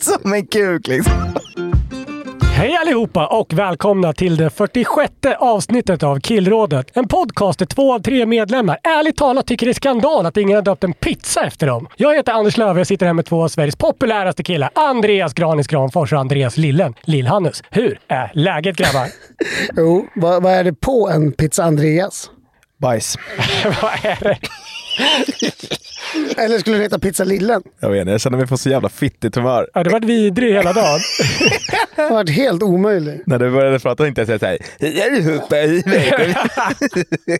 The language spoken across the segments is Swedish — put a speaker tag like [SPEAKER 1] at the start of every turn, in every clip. [SPEAKER 1] Som en kuk liksom.
[SPEAKER 2] Hej allihopa och välkomna till det 46 avsnittet av Killrådet. En podcast där två av tre medlemmar ärligt talat tycker det är skandal att ingen har döpt en pizza efter dem. Jag heter Anders Löf och jag sitter här med två av Sveriges populäraste killar. Andreas Granis Granfors och Andreas Lillen, Lill-Hannes. Hur är läget grabbar?
[SPEAKER 3] Jo, vad, vad är det på en pizza Andreas?
[SPEAKER 1] Bajs.
[SPEAKER 2] Vad är det?
[SPEAKER 3] Eller skulle det heta pizza Lillen?
[SPEAKER 1] Jag vet inte, jag känner mig på så jävla fittigt humör.
[SPEAKER 2] Ja, det har varit vidrig hela dagen.
[SPEAKER 3] Det har varit helt omöjligt.
[SPEAKER 1] När du började prata tänkte jag säga såhär. "Jag är uppe i vägen."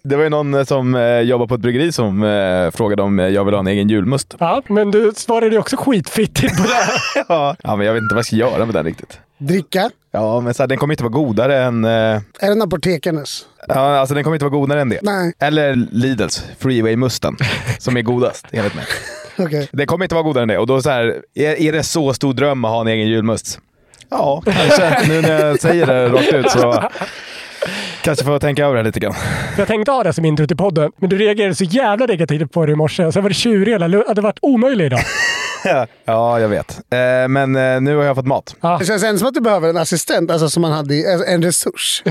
[SPEAKER 1] Det var ju någon eh, som eh, jobbar på ett bryggeri som eh, frågade om eh, jag vill ha en egen julmust.
[SPEAKER 2] Ja, men du svarade ju också skitfittigt på det.
[SPEAKER 1] Ja, men jag vet inte vad jag ska göra med den riktigt.
[SPEAKER 3] Dricka?
[SPEAKER 1] Ja, men så här, den kommer inte vara godare än... eh,
[SPEAKER 3] Är den apotekarnas?
[SPEAKER 1] Ja, alltså den kommer inte vara godare än det.
[SPEAKER 3] Nej.
[SPEAKER 1] Eller Lidls Freeway Musten, som är godast enligt mig.
[SPEAKER 3] Okej.
[SPEAKER 1] Det kommer inte vara godare än det. Och då så här, är, är det så stor dröm att ha en egen julmust? Ja, kanske. nu när jag säger det rakt ut så kanske får jag tänka över det lite grann.
[SPEAKER 2] Jag tänkte ha det som intro till podden, men du reagerade så jävla negativt på det i morse. Sen var det tjurig hela lu- ja, Det har varit omöjligt idag.
[SPEAKER 1] Ja, jag vet. Eh, men eh, nu har jag fått mat.
[SPEAKER 2] Ah.
[SPEAKER 3] Det känns ändå som att du behöver en assistent, alltså som man hade i, alltså en resurs.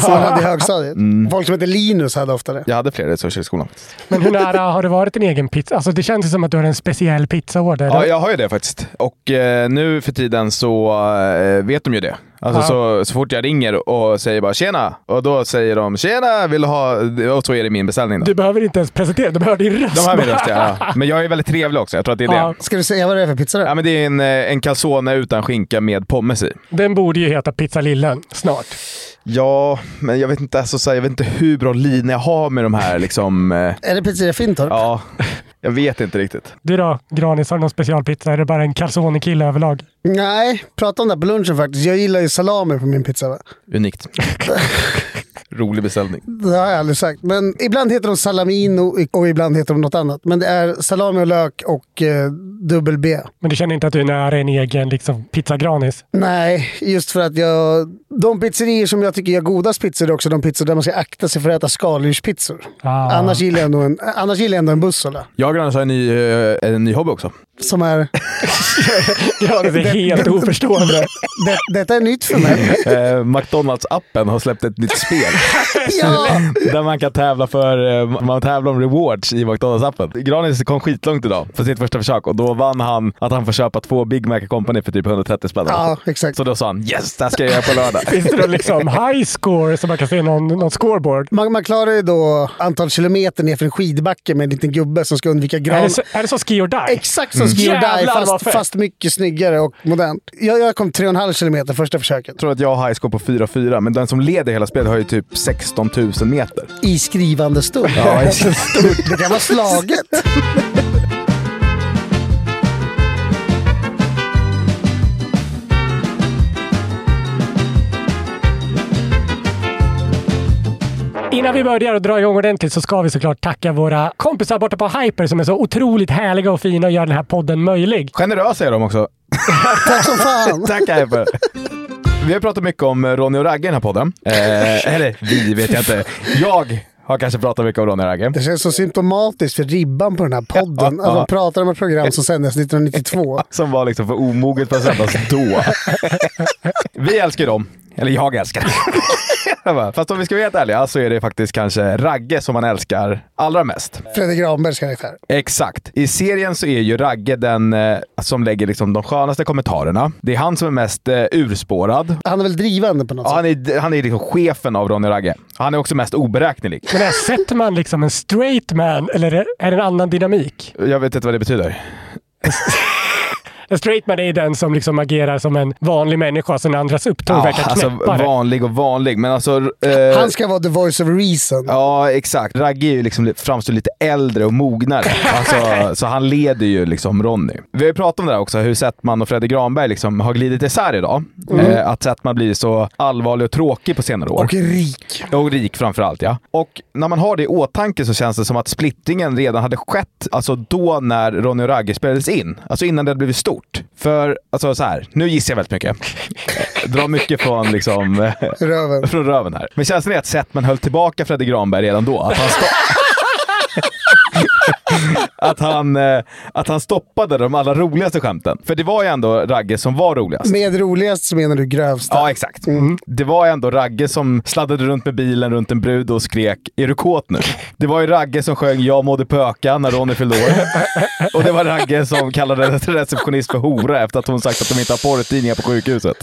[SPEAKER 3] som man hade i högstadiet.
[SPEAKER 1] Mm.
[SPEAKER 3] Folk som heter Linus hade ofta det.
[SPEAKER 1] Jag hade fler resurser i skolan.
[SPEAKER 2] Men hur nära har det varit en egen pizza? Alltså det känns ju som att du har en speciell pizzaorder.
[SPEAKER 1] Ja, jag har ju det faktiskt. Och eh, nu för tiden så eh, vet de ju det. Alltså
[SPEAKER 2] Ja.
[SPEAKER 1] så, så fort jag ringer och säger bara “tjena” och då säger de “tjena, vill du ha...” och så är det min beställning. Då.
[SPEAKER 2] Du behöver inte ens presentera, du behöver din röst.
[SPEAKER 1] De har min röst, ja. Men jag är väldigt trevlig också. Jag tror att det är
[SPEAKER 2] Ja.
[SPEAKER 1] det.
[SPEAKER 3] Ska du säga vad det är för pizza då?
[SPEAKER 1] Ja, men det är en, eh, en calzone utan skinka med pommes i.
[SPEAKER 2] Den borde ju heta Pizza Lillen snart.
[SPEAKER 1] Ja, men jag vet inte, alltså, så här, jag vet inte hur bra lin jag har med de här. Liksom, eh,
[SPEAKER 3] Är det pizzeria Fintorp?
[SPEAKER 1] ja, jag vet inte riktigt.
[SPEAKER 2] Du då, Granis, har du någon specialpizza? Är det bara en calzone-kille överlag?
[SPEAKER 3] Nej, prata om det här på lunchen faktiskt. Jag gillar ju salami på min pizza. Va?
[SPEAKER 1] Unikt. Rolig beställning.
[SPEAKER 3] Det har jag aldrig sagt. Men ibland heter de salamino och ibland heter de något annat. Men det är salami och lök och eh, dubbel B.
[SPEAKER 2] Men du känner inte att du är nära en egen liksom, pizza Granis?
[SPEAKER 3] Nej, just för att jag... De pizzerier som jag tycker gör godast pizzor är också de pizzor där man ska akta sig för att äta skaldjurspizzor.
[SPEAKER 2] Ah.
[SPEAKER 3] Annars gillar jag ändå en, annars gillar jag ändå en bussola.
[SPEAKER 1] Jag och Grannes har en ny, eh, en ny hobby också.
[SPEAKER 3] Som är...
[SPEAKER 2] Granis är helt oförstående.
[SPEAKER 3] Det, detta är nytt för mig.
[SPEAKER 1] Eh, McDonalds-appen har släppt ett nytt spel
[SPEAKER 3] ja!
[SPEAKER 1] där man kan tävla för eh, man tävlar om rewards i McDonalds-appen. Granis kom skitlångt idag på sitt första försök och då vann han att han får köpa två Big Mac Company för typ 130 spänn.
[SPEAKER 3] Ja, exakt.
[SPEAKER 1] Så då sa han yes, det här ska jag göra på lördag.
[SPEAKER 2] Finns det då liksom high score som man kan se någon, någon scoreboard?
[SPEAKER 3] Man, man klarar ju då antal kilometer nerför en skidbacke med en liten gubbe som ska undvika
[SPEAKER 2] Är
[SPEAKER 3] gran.
[SPEAKER 2] det, så, är det så ski or die?
[SPEAKER 3] Exakt som Ski or Die,
[SPEAKER 2] Jävlar, vad
[SPEAKER 3] fast,
[SPEAKER 2] fett.
[SPEAKER 3] fast mycket snyggare och modernt. Jag, jag kom 3,5 kilometer första försöket.
[SPEAKER 1] Jag tror att jag har highscore på 4-4, men den som leder hela spelet har ju typ 16 000 meter.
[SPEAKER 3] I skrivande stund.
[SPEAKER 1] Ja, i-
[SPEAKER 3] det kan vara slaget.
[SPEAKER 2] Innan vi börjar och drar igång ordentligt så ska vi såklart tacka våra kompisar borta på Hyper som är så otroligt härliga och fina och gör den här podden möjlig.
[SPEAKER 1] Generösa är de också.
[SPEAKER 3] Tack som fan.
[SPEAKER 1] Tack Hyper! Vi har pratat mycket om Ronny och Ragge i den här podden. Eh, eller vi vet jag inte. Jag har kanske pratat mycket om Ronny och Ragge.
[SPEAKER 3] Det känns så symptomatiskt för ribban på den här podden.
[SPEAKER 1] Ja.
[SPEAKER 3] Att man pratar om ett program som sändes 1992.
[SPEAKER 1] Som var liksom för omoget för att sändas då. Vi älskar dem. Eller jag älskar dem. bara, Fast om vi ska vara helt ärliga så är det faktiskt kanske Ragge som man älskar allra mest.
[SPEAKER 3] Fredrik Granbergs karaktär.
[SPEAKER 1] Exakt. I serien så är ju Ragge den eh, som lägger liksom de skönaste kommentarerna. Det är han som är mest eh, urspårad.
[SPEAKER 3] Han är väl drivande på något
[SPEAKER 1] Ja,
[SPEAKER 3] sätt?
[SPEAKER 1] han är, han är liksom chefen av Ronny Ragge. Han är också mest oberäknelig.
[SPEAKER 2] Men här sätter man liksom en straight man eller är det en annan dynamik?
[SPEAKER 1] Jag vet inte vad det betyder.
[SPEAKER 2] En straight man är den som liksom agerar som en vanlig människa, så den andras upptåg verkar
[SPEAKER 1] alltså,
[SPEAKER 2] knäppare.
[SPEAKER 1] vanlig och vanlig, men alltså... eh,
[SPEAKER 3] Han ska vara the voice of reason.
[SPEAKER 1] Ja, exakt. Ragge är ju liksom, li- framstår lite äldre och mognare. Alltså, så han leder ju liksom Ronny. Vi har ju pratat om det där också, hur Settman och Fredrik Granberg liksom har glidit isär idag. Eh, att Settman blir så allvarlig och tråkig på senare år.
[SPEAKER 3] Och rik.
[SPEAKER 1] Och rik framförallt ja. Och när man har det i åtanke så känns det som att splittringen redan hade skett alltså då när Ronny och Ragge spelades in. Alltså innan det hade blivit stort. För alltså så här, nu gissar jag väldigt mycket. Dra mycket från liksom
[SPEAKER 3] Röven.
[SPEAKER 1] från röven här. Men känslan är att Settman höll tillbaka Fredrik Granberg redan då. Att han, sto- att, han, eh, att han stoppade de allra roligaste skämten. För det var ju ändå Ragge som var roligast.
[SPEAKER 3] Med roligast så menar du grövsta.
[SPEAKER 1] Ja, exakt. Det var ändå Ragge som sladdade runt med bilen runt en brud och skrek “Är du kåt nu?” Det var ju Ragge som sjöng “Jag mådde pöka” när Ronny fyllde år. och det var Ragge som kallade en receptionist för hora efter att hon sagt att de inte har porrtidningar på sjukhuset.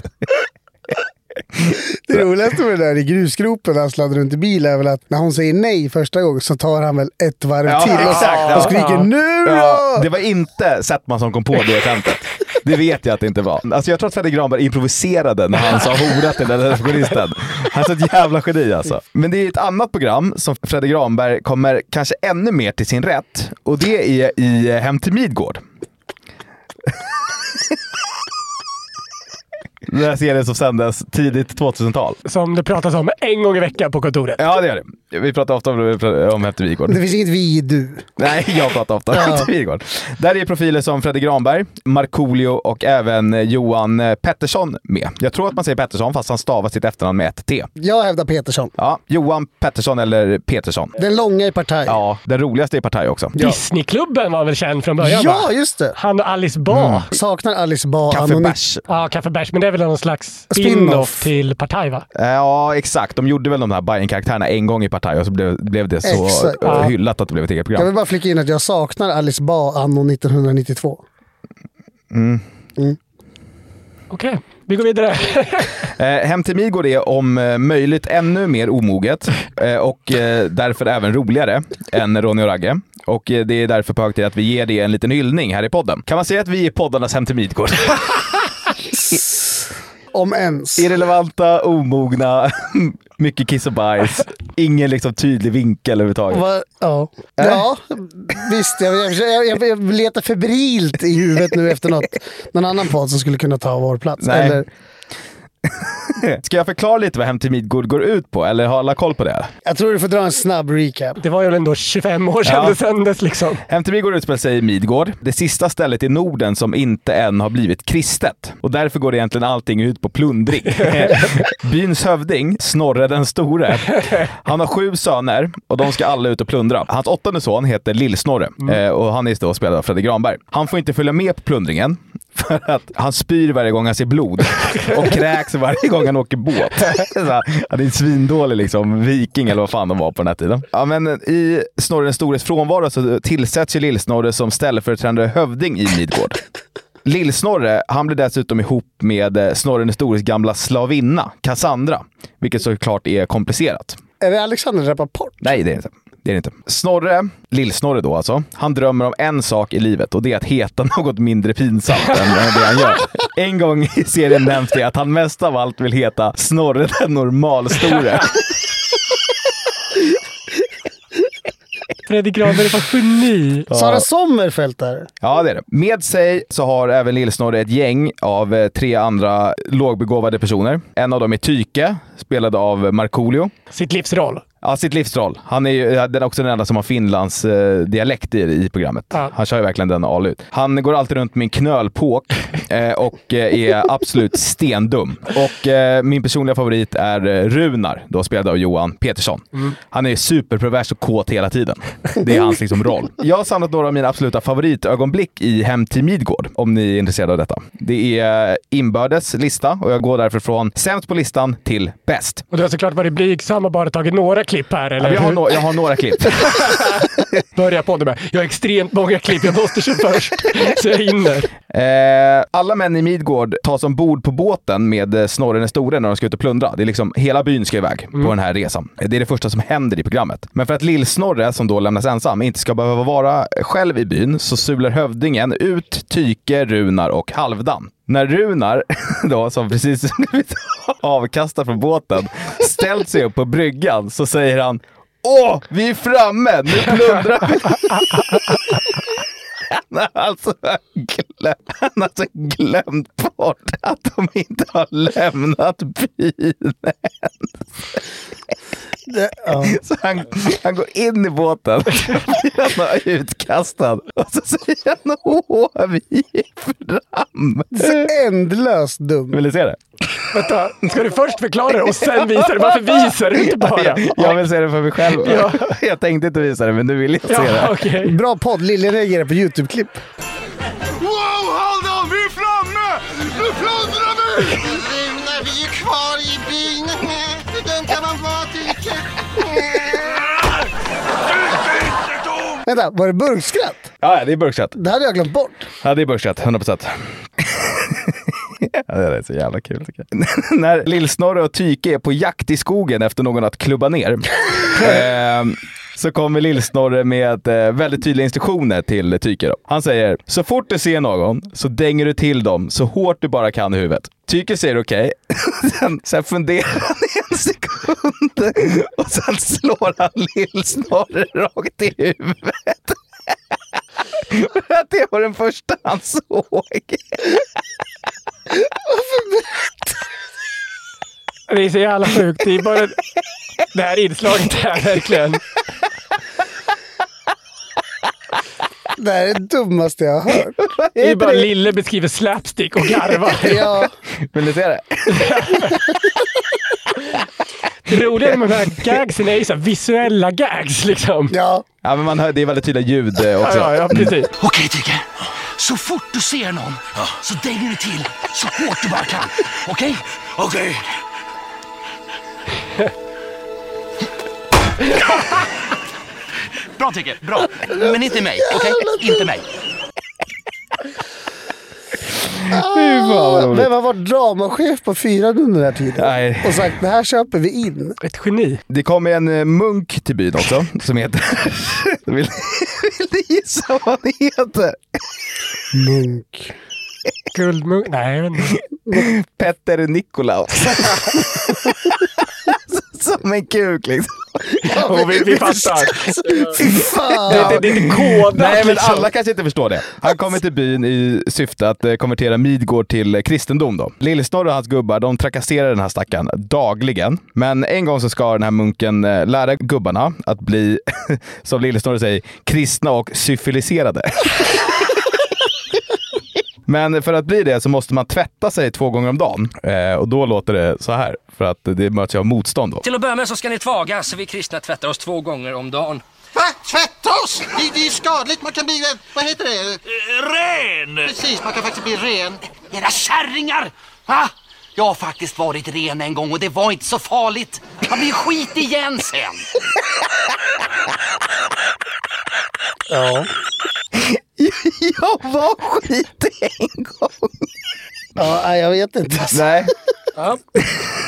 [SPEAKER 3] Det roligaste med det där i grusgropen när han sladdar runt i bil är väl att när hon säger nej första gången så tar han väl ett varv
[SPEAKER 1] Ja,
[SPEAKER 3] till och,
[SPEAKER 1] exakt, ja.
[SPEAKER 3] och skriker nu då!
[SPEAKER 1] Ja, det var inte Settman som kom på det skämtet. Det vet jag att det inte var. Alltså jag tror att Fredrik Granberg improviserade när han sa hora till den där receptionisten. Han är så ett jävla geni alltså. Men det är ett annat program som Fredrik Granberg kommer kanske ännu mer till sin rätt och det är i eh, Hem till Midgård. Den här serien som sändes tidigt 2000-tal.
[SPEAKER 2] Som det pratas om en gång i veckan på kontoret.
[SPEAKER 1] Ja, det gör det. Vi pratar ofta om, om Hem till Midgård.
[SPEAKER 3] Det finns inget vi i du.
[SPEAKER 1] Nej, jag pratar ofta om Peter Wigård. Där är profiler som Fredrik Granberg, Markoolio och även eh, Johan eh, Pettersson med. Jag tror att man säger Pettersson fast han stavar sitt efternamn med ett T.
[SPEAKER 3] Jag hävdar Petersson.
[SPEAKER 1] Ja, Johan Pettersson eller Petersson.
[SPEAKER 3] Den långa i partaj.
[SPEAKER 1] Ja, den roligaste i Partaj också.
[SPEAKER 2] Disneyklubben var väl känd från början?
[SPEAKER 3] Ja,
[SPEAKER 2] va?
[SPEAKER 3] just det.
[SPEAKER 2] Han och Alice Bah.
[SPEAKER 1] Mm.
[SPEAKER 3] Saknar Alice Ba
[SPEAKER 1] Kaffe
[SPEAKER 3] anonym-
[SPEAKER 1] bärs.
[SPEAKER 2] Ja, Kaffebärs, men det är väl någon slags
[SPEAKER 3] Spin-off.
[SPEAKER 2] spin-off till Partaj va?
[SPEAKER 1] Eh, Ja, exakt. De gjorde väl de här Bajen-karaktärerna en gång i Partaj och så blev, blev det så
[SPEAKER 3] Exakt.
[SPEAKER 1] eh, hyllat att det blev ett eget
[SPEAKER 3] Jag vill
[SPEAKER 1] program.
[SPEAKER 3] bara flika in att jag saknar Alice Ba anno 1992.
[SPEAKER 2] Okej, vi går vidare.
[SPEAKER 1] Eh, Hem till Midgård är om eh, möjligt ännu mer omoget eh, och eh, därför även roligare än Ronny och Ragge. Och eh, det är därför på hög tid att vi ger det en liten hyllning här i podden. Kan man säga att vi är poddarnas Hem till Midgård?
[SPEAKER 3] Om ens.
[SPEAKER 1] Irrelevanta, omogna, mycket kiss och bajs. Ingen liksom tydlig vinkel överhuvudtaget.
[SPEAKER 3] Va? Ja. ja, visst. Jag, jag, jag, jag letar febrilt i huvudet nu efter något, någon annan podd som skulle kunna ta vår plats.
[SPEAKER 1] Nej.
[SPEAKER 3] Eller,
[SPEAKER 1] Ska jag förklara lite vad Hem till Midgård går ut på? Eller har alla koll på det?
[SPEAKER 3] jag tror du får dra en snabb recap.
[SPEAKER 2] Det var ju ändå 25 år sedan
[SPEAKER 1] Ja.
[SPEAKER 2] det sändes liksom.
[SPEAKER 1] MTV går utspelar sig i Midgård, det sista stället i Norden som inte än har blivit kristet. Och därför går det egentligen allting ut på plundring. Byns hövding, Snorre den store, han har sju söner och de ska alla ut och plundra. Hans åttonde son heter Lill-Snorre eh, och han är då spelad av Fredrik Granberg. Han får inte följa med på plundringen för att han spyr varje gång han ser blod och kräks varje gång han åker båt. Så här, Han är en svindålig liksom, viking eller vad fan de var på den här tiden. Ja, men I Snorre den stores frånvaro så tillsätts ju Lill-Snorre som ställföreträdande hövding i Midgård. Lill-Snorre, han blir dessutom ihop med eh, Snorre den stores gamla slavinna, Cassandra. Vilket såklart är komplicerat.
[SPEAKER 3] Är det Alexander Rappaport?
[SPEAKER 1] Nej, det är det inte. Det är det inte. Snorre, Lill-Snorre då alltså, han drömmer om en sak i livet och det är att heta något mindre pinsamt än det han gör. En gång i serien nämns det att han mest av allt vill heta Snorre den normalstore.
[SPEAKER 2] Fredrik Granberg var geni.
[SPEAKER 3] Sara Sommerfeld där.
[SPEAKER 1] Ja, det är det. Med sig så har även Lill-Snorre ett gäng av eh, tre andra lågbegåvade personer. En av dem är Tyke, spelad av Markoolio.
[SPEAKER 2] Sitt livs roll.
[SPEAKER 1] Ja, sitt livstroll. Han är ju ja, den är också den enda som har Finlands eh, dialekt i, i programmet.
[SPEAKER 2] Ja.
[SPEAKER 1] Han kör ju verkligen den all ut. Han går alltid runt med en knölpåk eh, och eh, är absolut stendum. Och eh, min personliga favorit är eh, Runar, då spelad av Johan Petersson.
[SPEAKER 2] Mm.
[SPEAKER 1] Han är superpervers och kåt hela tiden. Det är hans liksom, roll. Jag har samlat några av mina absoluta favoritögonblick i Hem till Midgård, om ni är intresserade av detta. Det är eh, inbördes lista och jag går därför från sämst på listan till bäst.
[SPEAKER 2] Och du har såklart varit blygsam och bara tagit några klipp här, eller
[SPEAKER 1] Jag
[SPEAKER 2] hur?
[SPEAKER 1] har, nå- jag har några klipp.
[SPEAKER 2] Börja på det med. Jag har extremt många klipp, jag måste köra först. Så jag hinner.
[SPEAKER 1] Eh, alla män i Midgård tas ombord på båten med eh, Snorren den store när de ska ut och plundra. Det är liksom, hela byn ska iväg på den här resan. Det är det första som händer i programmet. Men för att Lill-Snorre, som då lämnas ensam, inte ska behöva vara eh, själv i byn så sular hövdingen ut Tyke, Runar och Halvdan. När Runar, då, som precis blivit avkastad från båten, ställt sig upp på bryggan så säger han Åh, vi är framme! Nu plundrar vi! Han har alltså, glöm, han har alltså glömt bort att de inte har lämnat byn.
[SPEAKER 3] Det, ja.
[SPEAKER 1] Så han, han går in i båten, han har utkastad och så säger han åh, vi är fram.
[SPEAKER 3] det är så ändlöst dumt.
[SPEAKER 1] Vill du se det?
[SPEAKER 2] Vänta, ska du först förklara det och sen visa det? Varför visar du inte bara?
[SPEAKER 1] Jag, jag vill se det för mig själv.
[SPEAKER 2] Ja.
[SPEAKER 1] Jag tänkte inte visa det, men nu vill jag se det.
[SPEAKER 2] Ja, okej.
[SPEAKER 3] Bra podd. Lille reagerar på YouTube-klipp.
[SPEAKER 4] Wow, Halldal, vi är framme! Nu plundrar vi! Runa, vi är kvar i byn. Hur dum kan man vara, Tyke?
[SPEAKER 3] Vänta, var det burkskratt?
[SPEAKER 1] Ja, ja, det är burksatt.
[SPEAKER 3] Det hade jag glömt bort.
[SPEAKER 1] Ja, det är börsrätt. 100 procent. Det är så jävla kul tycker jag. När Lillsnorre och Tyke är på jakt i skogen efter någon att klubba ner ehm, så kommer Lillsnorre med eh, väldigt tydliga instruktioner till Tyke. Då. Han säger så fort du ser någon så dänger du till dem så hårt du bara kan i huvudet. Tyke säger okej. Sen, sen funderar han i en sekund och sen slår han Lillsnorre rakt i huvudet. För att det var den första han såg.
[SPEAKER 2] Det är så jävla sjukt. Det är bara det här inslaget här verkligen.
[SPEAKER 3] Det här är det dummaste jag har hört.
[SPEAKER 2] Det är bara Lille beskriver slapstick och garvar.
[SPEAKER 3] Ja,
[SPEAKER 1] Vill du se det?
[SPEAKER 2] Det roliga med de här gagsen är ju så här visuella gags liksom.
[SPEAKER 3] ja.
[SPEAKER 1] Ja, men man hör, det är väldigt tydliga ljud eh, också.
[SPEAKER 2] Ja, ja, precis.
[SPEAKER 5] Okej Tyke, så fort du ser någon så dänger du till så hårt du bara kan. Okej? Okej. bra Tyke, bra. Men inte mig, okej? Inte mig.
[SPEAKER 3] Vem har varit dramachef på fyran under den här tiden?
[SPEAKER 1] Nej.
[SPEAKER 3] Och sagt det här köper vi in.
[SPEAKER 2] Ett geni.
[SPEAKER 1] Det kom en eh, munk till byn också, som heter... vill, vill du gissa vad han heter?
[SPEAKER 3] Munk.
[SPEAKER 2] Guldmunk. Nej, jag vet inte.
[SPEAKER 1] Petter Nikolaus. som en kuk liksom.
[SPEAKER 2] Jo, vi, vi fattar.
[SPEAKER 3] Fy fan!
[SPEAKER 2] Det, det, det är inte kodat
[SPEAKER 1] Nej, men
[SPEAKER 2] liksom.
[SPEAKER 1] alla kanske inte förstår det. Han kommer till byn i syfte att eh, konvertera Midgård till eh, kristendom. då. Lillsnorre och hans gubbar de trakasserar den här stackaren dagligen. Men en gång så ska den här munken eh, lära gubbarna att bli, som Lillsnorre säger, kristna och syfiliserade. Men för att bli det så måste man tvätta sig två gånger om dagen. Eh, och då låter det så här, för att det möts ju av motstånd då.
[SPEAKER 6] Till att börja med så ska ni tvagas. Vi kristna tvättar oss två gånger om dagen.
[SPEAKER 4] Va? Tvätta oss? Det, det är skadligt. Man kan bli... Vad heter det?
[SPEAKER 5] Ren!
[SPEAKER 4] Precis, man kan faktiskt bli ren.
[SPEAKER 5] Era kärringar! Va? Jag har faktiskt varit ren en gång och det var inte så farligt. Man blir skit igen sen.
[SPEAKER 1] Jag var skit en gång!
[SPEAKER 3] Ja, nej, jag vet inte.
[SPEAKER 1] Nej,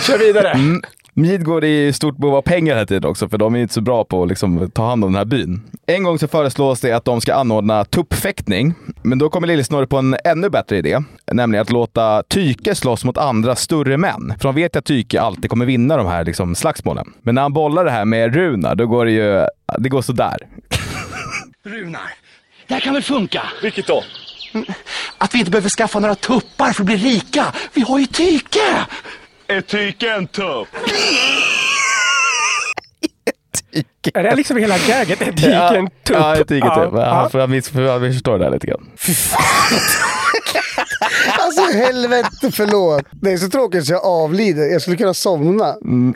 [SPEAKER 2] Kör vidare.
[SPEAKER 1] Mm. Midgård är i stort behov av pengar hela tiden också, för de är inte så bra på att liksom, ta hand om den här byn. En gång så föreslås det att de ska anordna tuppfäktning, men då kommer Lillesnorre på en ännu bättre idé, nämligen att låta Tyke slåss mot andra större män. För de vet ju att Tyke alltid kommer vinna de här liksom, slagsmålen. Men när han bollar det här med Runa, då går det ju... Det går sådär.
[SPEAKER 5] Runar, det här kan väl funka? Vilket då? Att vi inte behöver skaffa några tuppar för att bli rika. Vi har ju tyke!
[SPEAKER 7] Är tyken tupp?
[SPEAKER 1] diket.
[SPEAKER 2] Är det liksom hela gaget? Ett dike,
[SPEAKER 1] Ja,
[SPEAKER 2] en tupp?
[SPEAKER 1] Ja, ett diketupp. Ja,
[SPEAKER 2] ja.
[SPEAKER 1] För han miss- för han missförstår det här lite grann.
[SPEAKER 3] Alltså helvete, förlåt. Det är så tråkigt så jag avlider. Jag skulle kunna somna.
[SPEAKER 1] Mm.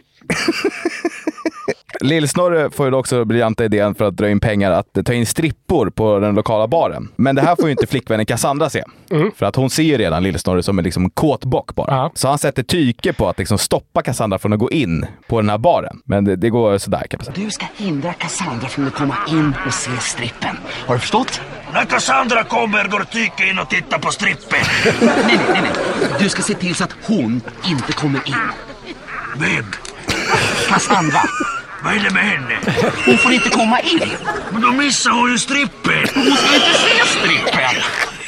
[SPEAKER 1] Lillsnorre får ju också den briljanta idén för att dra in pengar att eh, ta in strippor på den lokala baren. Men det här får ju inte flickvännen Cassandra se. För att hon ser ju redan Lillsnorre som en liksom kåtbock bara.
[SPEAKER 2] Ja.
[SPEAKER 1] Så han sätter tyke på att liksom stoppa Cassandra från att gå in på den här baren. Men det, det går sådär kan man säga.
[SPEAKER 7] Du ska hindra Cassandra från att komma in och se strippen.
[SPEAKER 5] Har du förstått?
[SPEAKER 4] När Cassandra kommer går Tyke in och tittar på strippen.
[SPEAKER 7] Nej, nej, nej, nej. Du ska se till så att hon inte kommer in.
[SPEAKER 4] Vem?
[SPEAKER 7] Cassandra,
[SPEAKER 4] Vad är det med henne?
[SPEAKER 7] hon får inte komma in.
[SPEAKER 4] Men då missar hon ju strippen.
[SPEAKER 7] Hon ska inte se strippen.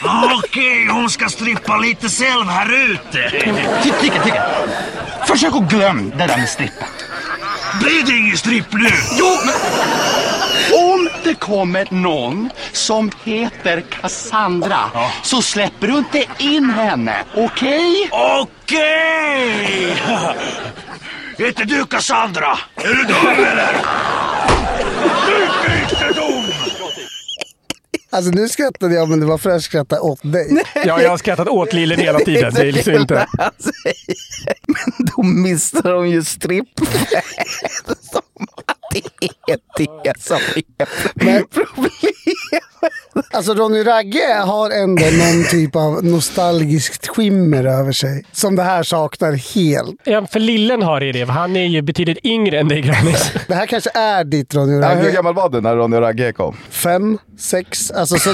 [SPEAKER 4] Ja, Okej, hon ska strippa lite själv här ute.
[SPEAKER 7] Ty- Tycker, tycker. Försök att glöm det där med strippen.
[SPEAKER 4] Blir det ingen stripp nu?
[SPEAKER 7] Jo, men... Om det kommer någon som heter Cassandra så släpper du inte in henne, okej?
[SPEAKER 4] Okej! Heter du Cassandra? Är du dum eller? Du är inte dum!
[SPEAKER 3] Alltså nu skrattade jag, men det var för att skratta åt dig.
[SPEAKER 2] Ja, jag har skrattat åt Lillen hela tiden. Det är liksom inte...
[SPEAKER 1] Men då missar hon ju strippen. som att det är det som är problemet.
[SPEAKER 3] Alltså Ronny Ragge har ändå någon typ av nostalgiskt skimmer över sig. Som det här saknar helt.
[SPEAKER 2] Ja, för Lillen har det, för han är ju betydligt yngre än dig, Grannis.
[SPEAKER 3] Det här kanske är ditt Ronny
[SPEAKER 1] Ja, hur
[SPEAKER 3] Ragge.
[SPEAKER 1] gammal var du när Ronny och Ragge kom?
[SPEAKER 3] Fem, sex. Alltså så,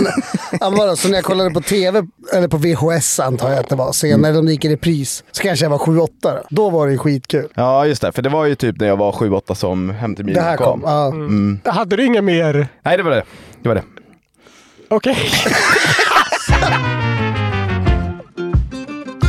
[SPEAKER 3] ja, vadå, så när jag kollade på tv, eller på VHS antar jag att det var,
[SPEAKER 1] Mm.
[SPEAKER 3] senare de gick i repris, så kanske jag var sju, åtta. Då. då var det ju skitkul.
[SPEAKER 1] Ja, just det. För det var ju typ när jag var 7-8 som Hem till
[SPEAKER 3] Det
[SPEAKER 1] Milo
[SPEAKER 3] här
[SPEAKER 1] kom. Mm.
[SPEAKER 3] kom. Ja.
[SPEAKER 2] Hade du inga mer?
[SPEAKER 1] Nej, det var det. Det var det.
[SPEAKER 2] Okej.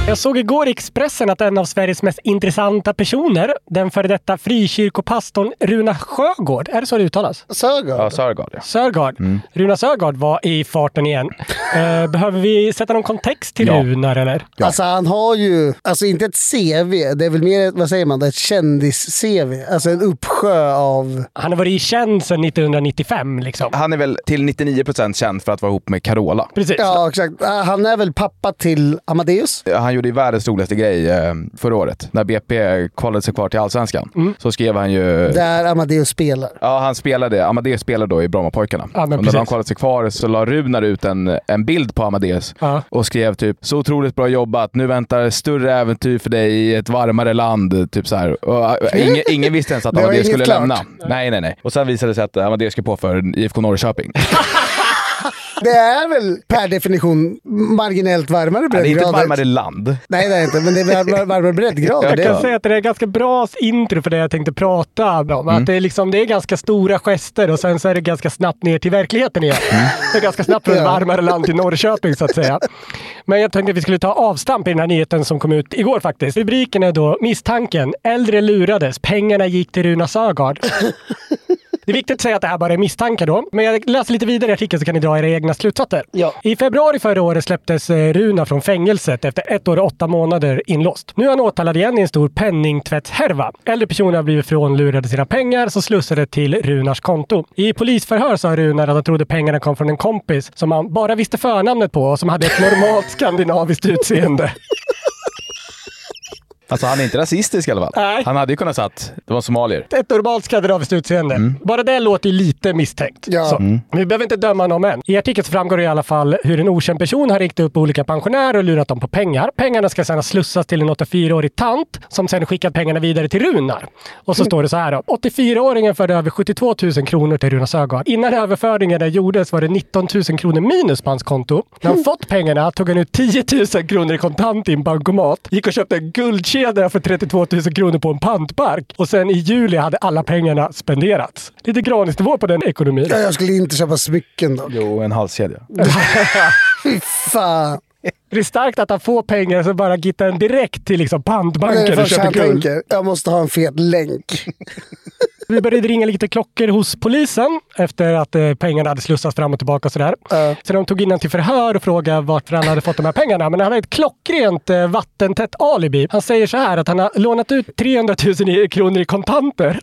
[SPEAKER 2] Jag såg igår i Expressen att en av Sveriges mest intressanta personer, den före detta frikyrkopastorn Runa Sjögård, är det så det uttalas?
[SPEAKER 3] Sögaard.
[SPEAKER 1] Ja, Sörgard ja.
[SPEAKER 2] Sörgard. Runa Sörgard var i farten igen. Eh, behöver vi sätta någon kontext till
[SPEAKER 1] Ja.
[SPEAKER 2] Runar eller?
[SPEAKER 3] Alltså han har ju, alltså inte ett CV, det är väl mer, ett- vad säger man, ett kändis-CV. Alltså en uppsjö av...
[SPEAKER 2] Han har varit i tjänst sedan 1995 liksom.
[SPEAKER 1] Han är väl till 99% känd för att vara ihop med Carola.
[SPEAKER 2] Precis.
[SPEAKER 3] Ja, exakt. Ah, Han är väl pappa till Amadeus?
[SPEAKER 1] Han gjorde ju världens roligaste grej eh, förra året. När BP kvalade sig kvar till Allsvenskan
[SPEAKER 2] Mm.
[SPEAKER 1] så skrev han ju...
[SPEAKER 3] Där Amadeus spelar.
[SPEAKER 1] Ja, han spelade. Amadeus spelade då i Brommapojkarna.
[SPEAKER 2] Ja, men
[SPEAKER 1] och när
[SPEAKER 2] precis.
[SPEAKER 1] de kvalade sig kvar så la Runar ut en, en bild på Amadeus
[SPEAKER 2] Ja.
[SPEAKER 1] och skrev typ “Så otroligt bra jobbat. Nu väntar större äventyr för dig i ett varmare land”. Typ så här. Och, äh, ingen, ingen visste ens att
[SPEAKER 3] Det var
[SPEAKER 1] Amadeus
[SPEAKER 3] inget
[SPEAKER 1] skulle
[SPEAKER 3] klart.
[SPEAKER 1] lämna. Nej, nej, nej. Och sen visade det sig att Amadeus skrev på för IFK Norrköping.
[SPEAKER 3] Det är väl per definition marginellt varmare
[SPEAKER 1] det är inte
[SPEAKER 3] breddgrader?
[SPEAKER 1] ett varmare land.
[SPEAKER 3] Nej, det är inte, men det är varmare, varmare breddgrader.
[SPEAKER 2] Jag
[SPEAKER 3] Det
[SPEAKER 2] kan
[SPEAKER 3] är-
[SPEAKER 2] säga att det är ganska bra intro för det jag tänkte prata om. Att det, är liksom, det är ganska stora gester och sen så är det ganska snabbt ner till verkligheten igen. Det är ganska snabbt från ett
[SPEAKER 3] Ja.
[SPEAKER 2] varmare land till Norrköping så att säga. Men jag tänkte att vi skulle ta avstamp i den här nyheten som kom ut igår faktiskt. Rubriken är då “Misstanken. Äldre lurades. Pengarna gick till Runa Sögaard”. Det är viktigt att säga att det här bara är misstankar då, men jag läser lite vidare i artikeln så kan ni dra era egna slutsatser.
[SPEAKER 3] Ja.
[SPEAKER 2] I februari förra året släpptes eh, Runa från fängelset efter ett år och åtta månader inlåst. Nu är han åtalad igen i en stor penningtvättshärva. Äldre personer har blivit frånlurade sina pengar som slussade till Runars konto. I polisförhör sa Runar att han trodde pengarna kom från en kompis som han bara visste förnamnet på och som hade ett normalt skandinaviskt utseende.
[SPEAKER 1] Alltså han är inte rasistisk i alla fall.
[SPEAKER 2] Nej.
[SPEAKER 1] Han hade ju kunnat satt, det var somalier.
[SPEAKER 2] ett normalt skandinaviskt utseende. Bara det låter ju lite misstänkt.
[SPEAKER 3] Ja.
[SPEAKER 2] Så. Vi behöver inte döma någon än. I artikeln så framgår det i alla fall hur en okänd person har ringt upp olika pensionärer och lurat dem på pengar. Pengarna ska sedan slussas till en 84-årig tant som sedan skickat pengarna vidare till Runar. Och så står det så här då. 84-åringen förde över 72 000 kronor till Runar Sögaard. Innan överföringarna gjordes var det 19 000 kronor minus på hans konto. När han fått pengarna tog han ut 10 000 kronor i kontant i en bankomat, gick och köpte en guldkedja för 32 000 kronor på en pantpark och sen i juli hade alla pengarna spenderats. Lite granisnivå på den ekonomin.
[SPEAKER 3] Ja, Jag skulle inte köpa smycken då.
[SPEAKER 1] Jo, en halskedja.
[SPEAKER 3] Fy fan.
[SPEAKER 2] Det är starkt att han får pengar så bara gittar den direkt till liksom
[SPEAKER 3] Det är
[SPEAKER 2] pantbanken
[SPEAKER 3] det
[SPEAKER 2] och
[SPEAKER 3] första
[SPEAKER 2] köper
[SPEAKER 3] han
[SPEAKER 2] guld.
[SPEAKER 3] tänker. Jag måste ha en fet länk.
[SPEAKER 2] Vi började ringa lite klockor hos polisen efter att eh, pengarna hade slussats fram och tillbaka och sådär. Så de tog in honom till förhör och frågade varför han hade fått de här pengarna. Men han har ett klockrent eh, vattentätt alibi. Han säger så här att han har lånat ut 300 000 i- kronor i kontanter.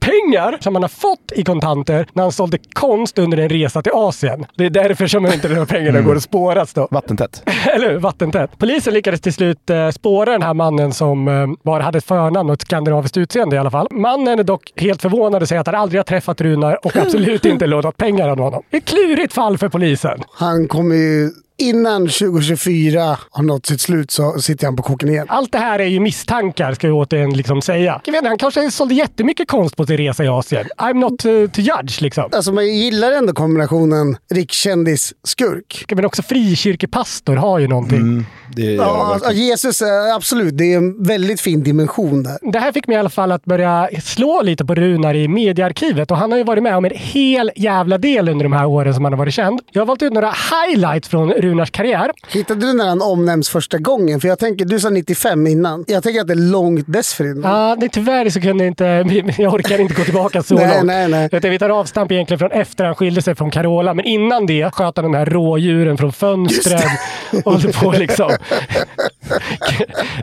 [SPEAKER 2] Pengar som han har fått i kontanter när han sålde konst under en resa till Asien. Det är därför som inte de här pengarna går att spåras då.
[SPEAKER 1] Vattentätt.
[SPEAKER 2] Eller hur? Vattentätt. Polisen lyckades till slut eh, spåra den här mannen som eh, bara hade ett förnamn och ett skandinaviskt utseende i alla fall. Mannen är dock helt förvånad och säger att han aldrig har träffat Runar och absolut inte lånat pengar av honom. Ett klurigt fall för polisen.
[SPEAKER 3] Han kommer ju... Innan 2024 har nått sitt slut så sitter han på koken igen.
[SPEAKER 2] Allt det här är ju misstankar, ska jag återigen liksom säga. Jag vet inte, han kanske sålde jättemycket konst på sin resa i Asien. I'm not eh, to judge, liksom.
[SPEAKER 3] Alltså man gillar ändå kombinationen rikskändis-skurk.
[SPEAKER 2] Men också frikyrkopastor har ju någonting.
[SPEAKER 1] Det,
[SPEAKER 3] Ja, alltså, Jesus, eh, absolut. Det är en väldigt fin dimension där.
[SPEAKER 2] Det här fick mig i alla fall att börja slå lite på Runar i mediearkivet och han har ju varit med om en hel jävla del under de här åren som han har varit känd. Jag har valt ut några highlights från Runars karriär.
[SPEAKER 3] Hittade du när han omnämns första gången? För jag tänker, du sa 95 innan. Jag tänker att det är långt dessförinnan.
[SPEAKER 2] Ah, nej, tyvärr så kunde jag inte, jag orkar inte gå tillbaka så
[SPEAKER 3] Nej,
[SPEAKER 2] långt.
[SPEAKER 3] nej, nej.
[SPEAKER 2] Utan vi tar avstamp egentligen från efter han skilde sig från Carola, men innan det sköt han de här rådjuren från fönstren och höll på liksom.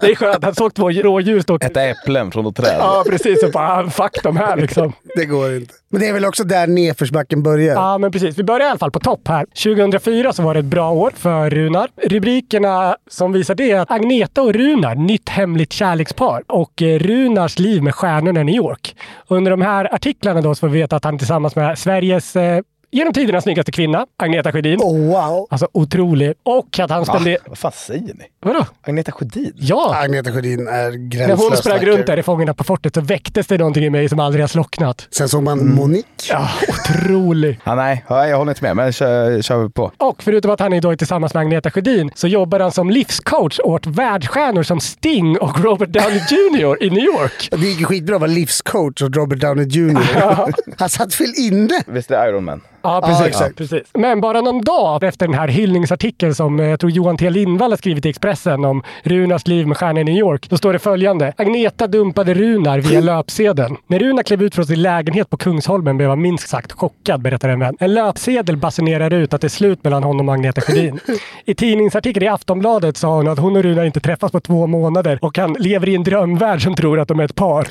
[SPEAKER 2] det är skönt, han såg två rådjur stå
[SPEAKER 1] Äta äpplen från ett träd.
[SPEAKER 2] Ja, precis. Och bara, ah, fuck de här liksom.
[SPEAKER 3] Det går inte. Men det är väl också där nedförsbacken börjar.
[SPEAKER 2] Ja, men precis. Vi börjar i alla fall på topp här. 2004 så var det ett bra år för Runar. Rubrikerna som visar det är att Agneta och Runar, nytt hemligt kärlekspar och eh, Runars liv med stjärnorna i New York. Under de här artiklarna då så får vi veta att han tillsammans med Sveriges eh, genom tiderna snyggaste kvinna, Agneta Sjödin.
[SPEAKER 3] Oh, wow!
[SPEAKER 2] Alltså otrolig. Och att han spenderade...
[SPEAKER 1] Ah, Vad fan säger ni?
[SPEAKER 2] Vadå?
[SPEAKER 1] Agneta Sjödin?
[SPEAKER 2] Ja!
[SPEAKER 3] Agneta Sjödin är
[SPEAKER 2] När
[SPEAKER 3] gränslös.
[SPEAKER 2] hon sprang
[SPEAKER 3] vacker.
[SPEAKER 2] runt där i Fångarna på fortet så väcktes det någonting i mig som aldrig har slocknat.
[SPEAKER 3] Sen såg man Monique.
[SPEAKER 2] Ja, otrolig.
[SPEAKER 1] Ja, nej, Ja, jag håller inte med, men kör, kör vi på.
[SPEAKER 2] Och förutom att han idag är tillsammans med Agneta Sjödin så jobbar han som livscoach åt världsstjärnor som Sting och Robert Downey Jr i New York.
[SPEAKER 3] Det gick ju skitbra att vara livscoach och Robert Downey Jr. Han satt väl inne?
[SPEAKER 1] Visst är det Iron Man?
[SPEAKER 2] Ja,
[SPEAKER 3] precis. exakt.
[SPEAKER 2] precis. Men bara någon dag efter den här hyllningsartikeln som eh, jag tror Johan T Lindvall har skrivit i Expressen om Runars liv med stjärnan i New York, då står det följande. Agneta dumpade Runar via löpsedeln. När Runar klev ut från sin lägenhet på Kungsholmen blev han minst sagt chockad, berättar en vän. En löpsedel basunerar ut att det är slut mellan honom och Agneta Sjödin. I tidningsartikeln i Aftonbladet sa hon att hon och Runar inte träffats på två månader och han lever i en drömvärld som tror att de är ett par.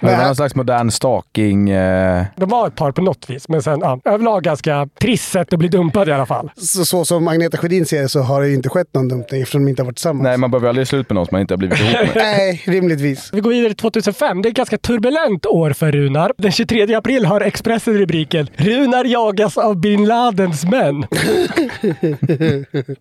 [SPEAKER 1] Det var någon slags modern stalking... Eh,
[SPEAKER 2] De var ett par på något vis, men sen ja, överlag ganska trist sätt att bli dumpad i alla fall.
[SPEAKER 3] Så, så som Agneta Sjödin ser det så har det ju inte skett någon dumpning eftersom de inte har varit tillsammans.
[SPEAKER 1] nej, man behöver aldrig slut med någon som man inte har blivit ihop med.
[SPEAKER 3] Nej, rimligtvis.
[SPEAKER 2] Vi går vidare till 2005. Det är ett ganska turbulent år för Runar. Den 23 april har Expressen rubriken “Runar jagas av bin Ladens män”.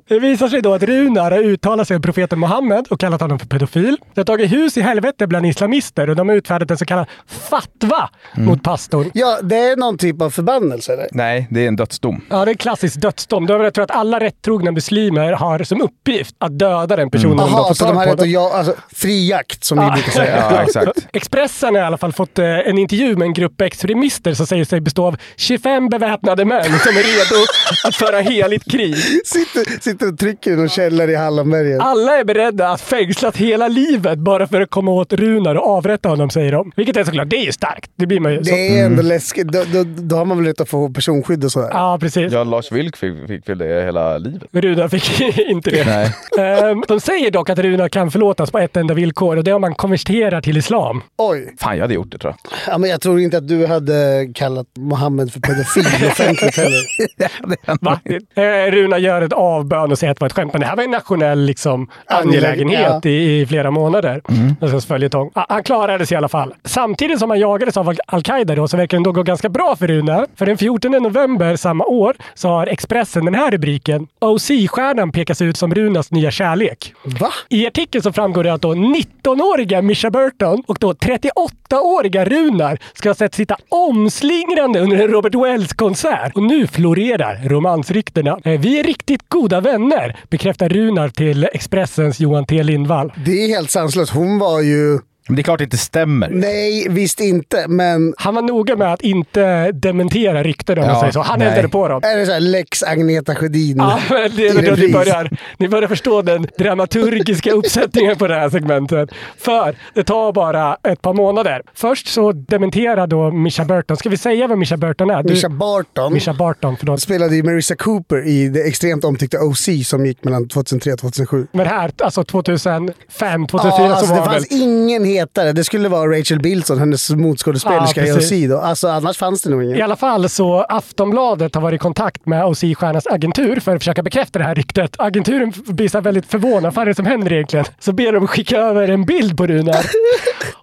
[SPEAKER 2] det visar sig då att Runar har uttalat sig om profeten Muhammed och kallat honom för pedofil. Det har tagit hus i helvete bland islamister och de har utfärdat en så kallad fatwa mot pastorn.
[SPEAKER 3] Mm. Ja, det är någon typ av förbannelse eller?
[SPEAKER 1] Nej, det är en dödsdom.
[SPEAKER 2] Ja, det är en klassisk dödsdom. Då tror jag att alla rättrogna muslimer har som uppgift att döda den personen om de får
[SPEAKER 3] Mm. Jaha, så
[SPEAKER 2] tag
[SPEAKER 3] de har
[SPEAKER 2] på
[SPEAKER 3] rätt
[SPEAKER 2] dem.
[SPEAKER 3] att jag, alltså, fri jakt som ni brukar säga.
[SPEAKER 1] Ja, exakt.
[SPEAKER 2] Expressen har i alla fall fått eh, en intervju med en grupp extremister som säger sig bestå av 25 beväpnade män som är redo att föra heligt krig.
[SPEAKER 3] Sitter, sitter och trycker i någon källare i Hallonbergen.
[SPEAKER 2] Alla är beredda att fängslas hela livet bara för att komma åt Runar och avrätta honom, säger de. Vilket är såklart, det är ju starkt. Det blir man ju. Så.
[SPEAKER 3] Det är ändå läskigt. Då, då, då har man väl rätt att få personskydd och sådär.
[SPEAKER 2] Ja, precis.
[SPEAKER 1] Ja, Lars Vilk fick, fick väl det hela livet.
[SPEAKER 2] Men Runar fick inte det.
[SPEAKER 1] Nej.
[SPEAKER 2] Ehm, de säger dock att Runar kan förlåtas på ett enda villkor och det är om man konverterar till islam.
[SPEAKER 3] Oj.
[SPEAKER 1] Fan, jag hade gjort det tror jag.
[SPEAKER 3] Ja, men jag tror inte att du hade kallat Mohammed för pedofil offentligt heller.
[SPEAKER 2] Va? Eh, Runa gör ett avbön och säger att det var ett skämt, men det här var en nationell liksom, angelägenhet i, i flera månader. Mm. Följetong. Ah, Han klarade sig i alla fall. Samtidigt som han jagades av Al- al-Qaida då, så verkar det ändå gå ganska bra för Runar. För den 14 november samma år så har Expressen den här rubriken. OC-stjärnan pekas ut som Runas nya kärlek.
[SPEAKER 3] Va?
[SPEAKER 2] I artikeln så framgår det att då 19-åriga Misha Burton och då 38-åriga Runar ska ha sett sitta omslingrande under en Robert Wells-konsert. Och nu florerar romansryktena. Eh, Vi är riktigt goda vänner, bekräftar Runar till Expressens Johan T Lindvall.
[SPEAKER 3] Det är helt sanslöst. Hon var ju
[SPEAKER 8] Men det är klart det inte stämmer.
[SPEAKER 3] Nej, visst inte. Men
[SPEAKER 2] Han var noga med att inte dementera rykten om
[SPEAKER 8] Ja,
[SPEAKER 2] man säger så. Han
[SPEAKER 8] nej.
[SPEAKER 2] eldade på dem.
[SPEAKER 3] är det så här lex Agneta Sjödin?
[SPEAKER 2] Ja, men det
[SPEAKER 3] i
[SPEAKER 2] är då ni
[SPEAKER 3] repris?
[SPEAKER 2] börjar, ni börjar förstå den dramaturgiska uppsättningen på det här segmentet. För det tar bara ett par månader. Först så dementerar då Mischa Burton. Ska vi säga vem Mischa Burton är? Du-
[SPEAKER 3] Mischa Barton
[SPEAKER 2] Mischa Barton, förlåt.
[SPEAKER 3] spelade ju Marissa Cooper i det extremt omtyckta OC som gick mellan 2003 och 2007.
[SPEAKER 2] Men här, alltså 2005, 2004
[SPEAKER 3] Ja,
[SPEAKER 2] så
[SPEAKER 3] alltså
[SPEAKER 2] var
[SPEAKER 3] det
[SPEAKER 2] han väl...
[SPEAKER 3] fanns ingen hetare. Det skulle vara Rachel Bilson, hennes motskådespelerska
[SPEAKER 2] Ja,
[SPEAKER 3] i
[SPEAKER 2] precis.
[SPEAKER 3] OC då. Alltså annars fanns det nog ingen.
[SPEAKER 2] I alla fall så Aftonbladet har varit i kontakt med OC-stjärnans agentur för att försöka bekräfta det här ryktet. Agenturen f- blir så här väldigt förvånad. Vad är det som händer egentligen? Så ber de skicka över en bild på Runar.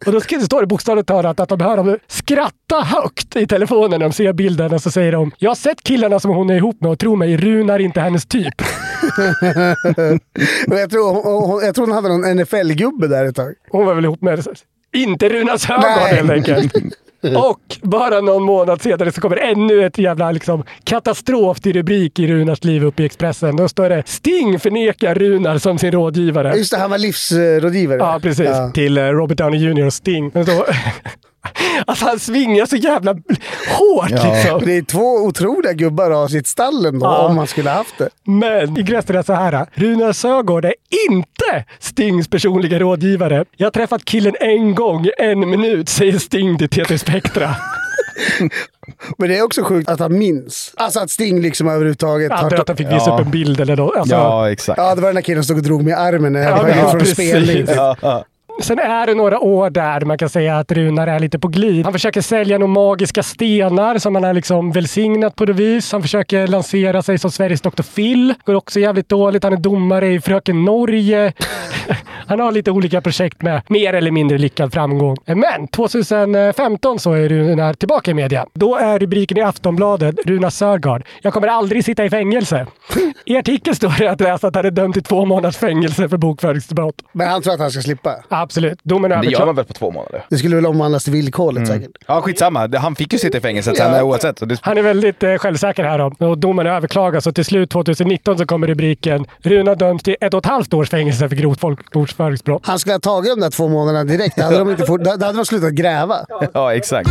[SPEAKER 2] Och då sk- står det bokstavligt talat att de hör dem skratta högt i telefonen när de ser bilden och så säger de “Jag har sett killarna som hon är ihop med och tro mig, Runar är inte hennes typ”.
[SPEAKER 3] Och jag, tror, hon- hon, jag tror hon hade någon NFL-gubbe där ett tag.
[SPEAKER 2] Hon var väl ihop med inte Runar Sögaard
[SPEAKER 3] Nej.
[SPEAKER 2] helt enkelt. Och bara någon månad senare så kommer ännu ett jävla liksom, katastrof till rubrik i Runars liv uppe i Expressen. Då står det “Sting förnekar Runar som sin rådgivare”.
[SPEAKER 3] Just det, han var livsrådgivare.
[SPEAKER 2] Ja, precis.
[SPEAKER 3] Ja.
[SPEAKER 2] Till eh, Robert Downey Jr och Sting. Men då, alltså han svingar så jävla hårt liksom.
[SPEAKER 3] Det är två otroliga gubbar av sitt stall ändå,
[SPEAKER 2] Ja.
[SPEAKER 3] om man skulle haft det.
[SPEAKER 2] Men i Grästorp är det så här. Runar Sögaard är inte Stings personliga rådgivare. Jag har träffat killen en gång, en minut, säger Sting till TT Spektra.
[SPEAKER 3] Men det är också sjukt att han minns. Alltså att Sting liksom överhuvudtaget
[SPEAKER 2] Jag Antar att han
[SPEAKER 3] har...
[SPEAKER 2] fick visa
[SPEAKER 8] Ja.
[SPEAKER 2] upp en bild eller något. Alltså,
[SPEAKER 8] Ja, exakt.
[SPEAKER 3] Ja, det var den där killen som stod och drog mig i armen när jag
[SPEAKER 2] Ja,
[SPEAKER 3] var
[SPEAKER 2] men
[SPEAKER 3] ja,
[SPEAKER 2] ja,
[SPEAKER 3] från
[SPEAKER 2] precis.
[SPEAKER 3] spelning.
[SPEAKER 8] Ja, ja.
[SPEAKER 2] Sen är det några år där man kan säga att Runar är lite på glid. Han försöker sälja några magiska stenar som han är liksom välsignat på det vis. Han försöker lansera sig som Sveriges Dr. Phil. Går också jävligt dåligt. Han är domare i Fröken Norge. han har lite olika projekt med mer eller mindre lyckad framgång. Men 2015 så är Runar tillbaka i media. Då är rubriken i Aftonbladet Runar Sörgard. Jag kommer aldrig sitta i fängelse. I artikeln står det att läsa att han är dömd till två månaders fängelse för bokföringsbrott.
[SPEAKER 3] Men han tror att han ska slippa.
[SPEAKER 2] Absolut. Domen
[SPEAKER 8] Det gör man
[SPEAKER 2] överklagades.
[SPEAKER 8] väl på två månader?
[SPEAKER 3] Det skulle väl omvandlas till villkorligt säkert.
[SPEAKER 8] Ja, skitsamma. Det- Han fick ju sitta i fängelset sen
[SPEAKER 3] Ja.
[SPEAKER 8] oavsett. så Det...
[SPEAKER 2] Han är väldigt eh, självsäker här om. och domen överklagas och till slut 2019 så kommer rubriken Runa döms till ett och ett halvt års fängelse för grovt folkmordsföringsbrott.
[SPEAKER 3] Han skulle ha tagit de där två månaderna direkt. Då hade de, inte fort, då hade de slutat gräva.
[SPEAKER 8] Ja, exakt.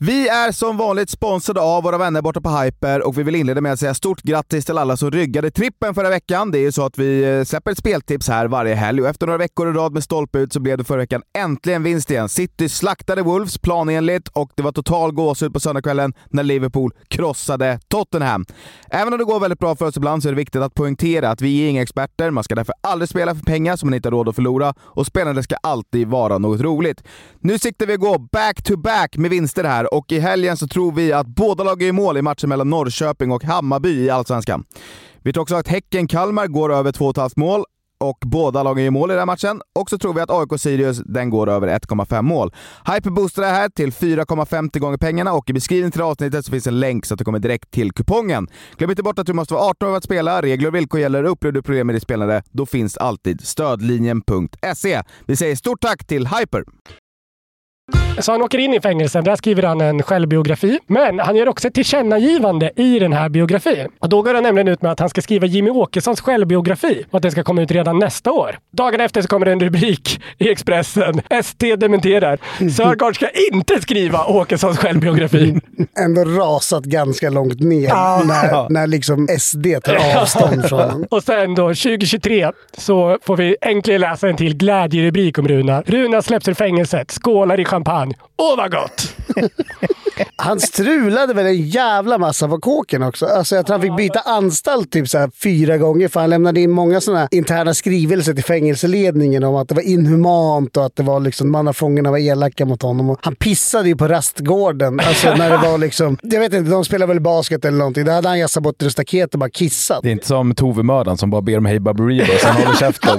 [SPEAKER 1] Vi är som vanligt sponsrade av våra vänner borta på Hyper och vi vill inleda med att säga stort grattis till alla som ryggade trippen förra veckan. Det är ju så att vi eh, släpper ett speltips här varje helg och efter några veckor i rad med stolpe ut så blev det förra veckan äntligen vinst igen. City slaktade Wolves planenligt och det var total gåshud på söndagskvällen när Liverpool krossade Tottenham. Även om det går väldigt bra för oss ibland så är det viktigt att poängtera att vi är inga experter. Man ska därför aldrig spela för pengar som man inte har råd att förlora och spelandet ska alltid vara något roligt. Nu siktar vi att gå back-to-back med vinster här och i helgen så tror vi att båda lag är i mål i matchen mellan Norrköping och Hammarby i Allsvenskan. Vi tror också att Häcken-Kalmar går över 2,5 mål och båda lagen gör mål i den här matchen. Och så tror vi att AIK-Sirius, den går över 1,5 mål. Hyper boostar det här till 4,50 gånger pengarna och i beskrivningen till det här avsnittet så finns en länk så att du kommer direkt till kupongen. Glöm inte bort att du måste vara 18 år för att spela. Regler och villkor gäller. Upplever du problem med ditt spelande, då E. finns alltid stödlinjen.se. Vi säger stort tack till Hyper!
[SPEAKER 2] Så han åker in i fängelsen. Där skriver han en självbiografi. Men han gör också ett tillkännagivande i den här biografin. Och då går han nämligen ut med att han ska skriva Jimmy Åkessons självbiografi och att den ska komma ut redan nästa år. Dagen efter så kommer det en rubrik i Expressen. ST dementerar. Sörgård ska inte skriva Åkessons självbiografi.
[SPEAKER 3] Ändå rasat ganska långt ner
[SPEAKER 2] Ja.
[SPEAKER 3] när, när liksom SD tar avstånd från honom.
[SPEAKER 2] Och sen då 2023 så får vi äntligen läsa en till glädjerubrik om Runa. Runa släpps ur fängelset, skålar i champagne. Åh vad gott!
[SPEAKER 3] Han strulade väl en jävla massa på kåken också. Alltså jag tror han fick byta anstalt typ så här fyra gånger för han lämnade in många sådana interna skrivelser till fängelseledningen om att det var inhumant och att det var liksom mannafångarna var elaka mot honom. Och han pissade ju på rastgården. Alltså när det var liksom, jag vet inte, de spelade väl basket eller någonting. Där hade han jassat bort ett staket och bara kissat.
[SPEAKER 1] Det är inte som Tove-mördaren som bara ber om Hey Baberiba och sen håller käften.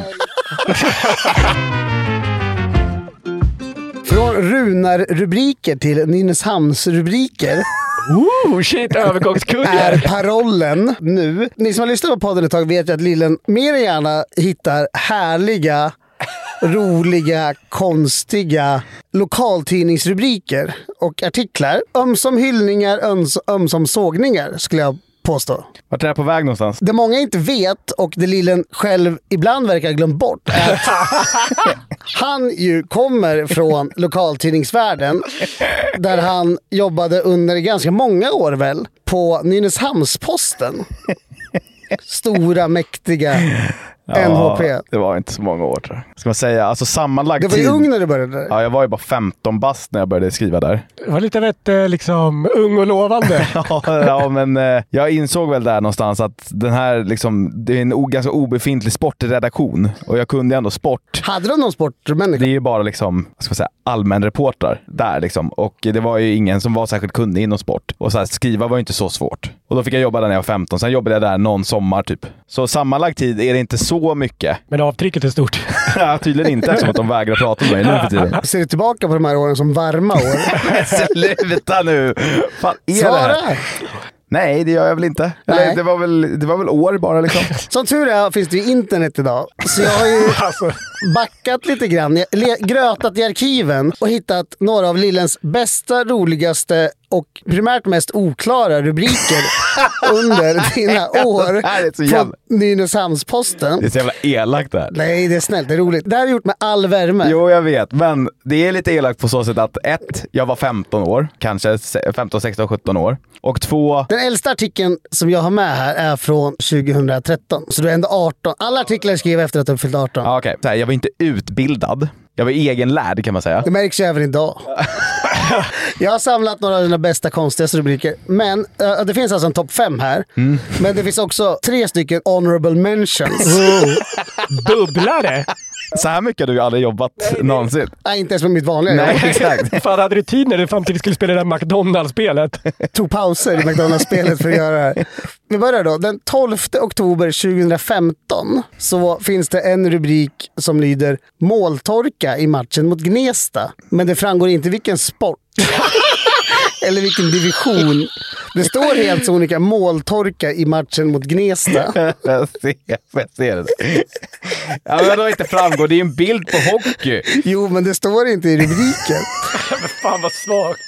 [SPEAKER 3] Från Runar-rubriker till Nynäshamns-rubriker.
[SPEAKER 2] Ooh, shit, övergångskungen.
[SPEAKER 3] Är parollen nu. Ni som har lyssnat på podden ett tag vet ju att Lillen mer än gärna hittar härliga, roliga, konstiga lokaltidningsrubriker och artiklar. Ömsom hyllningar, öms- ömsom sågningar skulle jag påstå.
[SPEAKER 1] Vart är det här på väg någonstans?
[SPEAKER 3] Det många inte vet och det Lillen själv ibland verkar ha glömt bort är att han ju kommer från lokaltidningsvärlden där han jobbade under ganska många år väl på Nynäshamns-Posten. Stora, mäktiga NHP.
[SPEAKER 1] det var inte så många år tror jag. Ska man säga, alltså sammanlagt
[SPEAKER 3] Du var ju
[SPEAKER 1] tid-
[SPEAKER 3] ung när du började där.
[SPEAKER 1] Ja, jag var ju bara 15 bast när jag började skriva där.
[SPEAKER 2] Det var lite av ett eh, liksom, ung och lovande.
[SPEAKER 1] Ja, ja, men eh, jag insåg väl där någonstans att den här liksom, det är en o, ganska obefintlig sportredaktion och jag kunde ju ändå sport.
[SPEAKER 3] Hade de någon sportmänniska?
[SPEAKER 1] Det är ju bara liksom, vad ska man säga, allmänreportrar där liksom. Och det var ju ingen som var särskilt kunnig inom sport. Och så här, skriva var ju inte så svårt. Och då fick jag jobba där när jag var 15. Sen jobbade jag där någon sommar typ. Så sammanlagd tid är det inte så mycket.
[SPEAKER 2] Men avtrycket är stort.
[SPEAKER 1] ja, tydligen inte eftersom att de vägrar prata med mig nu för tiden.
[SPEAKER 3] Ser du tillbaka på de här åren som varma år?
[SPEAKER 1] Sluta nu! Fan, är det
[SPEAKER 3] Svara!
[SPEAKER 1] här? Nej, det gör jag väl inte. Eller,
[SPEAKER 3] Nej.
[SPEAKER 1] det, var väl, det var väl år bara liksom.
[SPEAKER 3] Som tur är finns det ju internet idag. Så jag har ju
[SPEAKER 1] Alltså.
[SPEAKER 3] backat lite grann, Jag le- grötat i arkiven och hittat några av Lillens bästa, roligaste och primärt mest oklara rubriker under dina år
[SPEAKER 1] Det här är så
[SPEAKER 3] på
[SPEAKER 1] jävla-
[SPEAKER 3] Nynäshamns-Posten.
[SPEAKER 1] Det är så jävla elakt det här.
[SPEAKER 3] Nej, det är snällt. Det är roligt. Det här är gjort med all värme.
[SPEAKER 1] Jo, jag vet, men det är lite elakt på så sätt att ett, jag var 15 år, kanske se- 15, 16, 17 år. Och två,
[SPEAKER 3] Den äldsta artikeln som jag har med här är från 2013. Så du är ändå 18. Alla artiklar skriver efter att du har fyllt 18.
[SPEAKER 1] ja, okej, så här, jag var inte utbildad. Jag var egenlärd kan man säga.
[SPEAKER 3] Det märks ju även idag. Jag har samlat några av dina bästa, konstigaste rubriker. Men eh, det finns alltså en topp fem här. Men det finns också tre stycken honorable mentions.
[SPEAKER 2] Bubblare!
[SPEAKER 1] Så här mycket har du ju aldrig jobbat någonsin.
[SPEAKER 3] Nej, inte ens med mitt vanliga
[SPEAKER 1] Nej,
[SPEAKER 3] jobb.
[SPEAKER 1] exakt.
[SPEAKER 2] Fan, hade du tid när du fram till vi skulle spela det där McDonalds-spelet?
[SPEAKER 3] Tog pauser i McDonalds-spelet för att göra det här. Vi börjar då. Den 12 oktober 2015 så finns det en rubrik som lyder “Måltorka i matchen mot Gnesta”. Men det framgår inte vilken sport. Eller vilken division. Det står helt sonika “Måltorka i matchen mot Gnesta”.
[SPEAKER 1] Jag ser, jag ser det. Ja, men det har inte framgått. Det är ju en bild på hockey.
[SPEAKER 3] Jo, men det står inte i rubriken.
[SPEAKER 2] Fan vad svagt.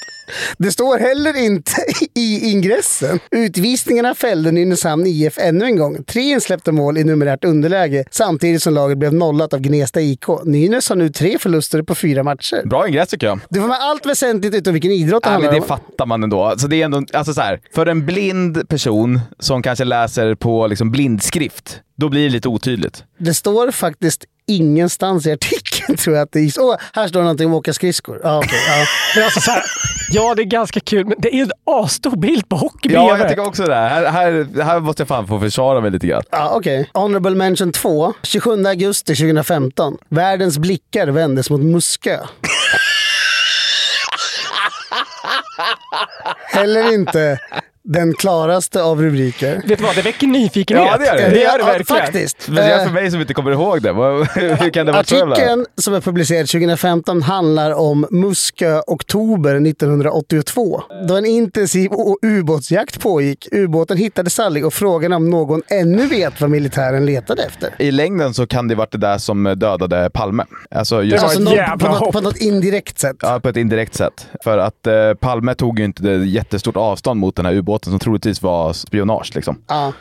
[SPEAKER 3] Det står heller inte i ingressen. Utvisningarna fällde Nynäshamn IF ännu en gång. Tre insläppta mål i numerärt underläge samtidigt som laget blev nollat av Gnesta IK. Nynäs har nu tre förluster på fyra matcher.
[SPEAKER 1] Bra ingress tycker jag.
[SPEAKER 3] Du får med allt väsentligt utom vilken idrott det
[SPEAKER 1] Ja, men
[SPEAKER 3] handlar
[SPEAKER 1] det
[SPEAKER 3] om.
[SPEAKER 1] fattar man ändå. Alltså, det är ändå alltså, så här, för en blind person som kanske läser på liksom, blindskrift, då blir det lite otydligt.
[SPEAKER 3] Det står faktiskt ingenstans i artikeln tror jag att det är. Åh, här står någonting om att åka skridskor. Ja, okej, ja.
[SPEAKER 2] Men alltså, så här, ja, det är ganska kul, men det är ju en asstor bild på hockey
[SPEAKER 1] Ja,
[SPEAKER 2] bredvid.
[SPEAKER 1] jag tycker också det. Här, här, här måste jag fan få försvara mig lite grann.
[SPEAKER 3] Ja, okej. Honorable mention 2. 27 augusti 2015. Världens blickar vändes mot Muskö. Heller inte Den klaraste av rubriker.
[SPEAKER 2] Vet du vad, det väcker nyfikenhet.
[SPEAKER 1] Ja, det gör det. Det gör det
[SPEAKER 3] Ja,
[SPEAKER 1] verkligen.
[SPEAKER 3] Faktiskt.
[SPEAKER 1] Speciellt
[SPEAKER 3] Eh,
[SPEAKER 1] för mig som inte kommer ihåg det. Vad- Hur kan det vara så jävla-
[SPEAKER 3] Artikeln som är publicerad 2015 handlar om Muskö oktober 1982. Då en intensiv o- ubåtsjakt pågick. Ubåten hittade Salling och frågan om någon ännu vet vad militären letade efter.
[SPEAKER 1] I längden så kan det varit det där som dödade Palme. Alltså, just-
[SPEAKER 3] Alltså någon, på, något, på något indirekt sätt.
[SPEAKER 1] Ja, på ett indirekt sätt. För att eh, Palme tog ju inte det jättestort avstånd mot den här ubåten som troligtvis var spionage. Liksom.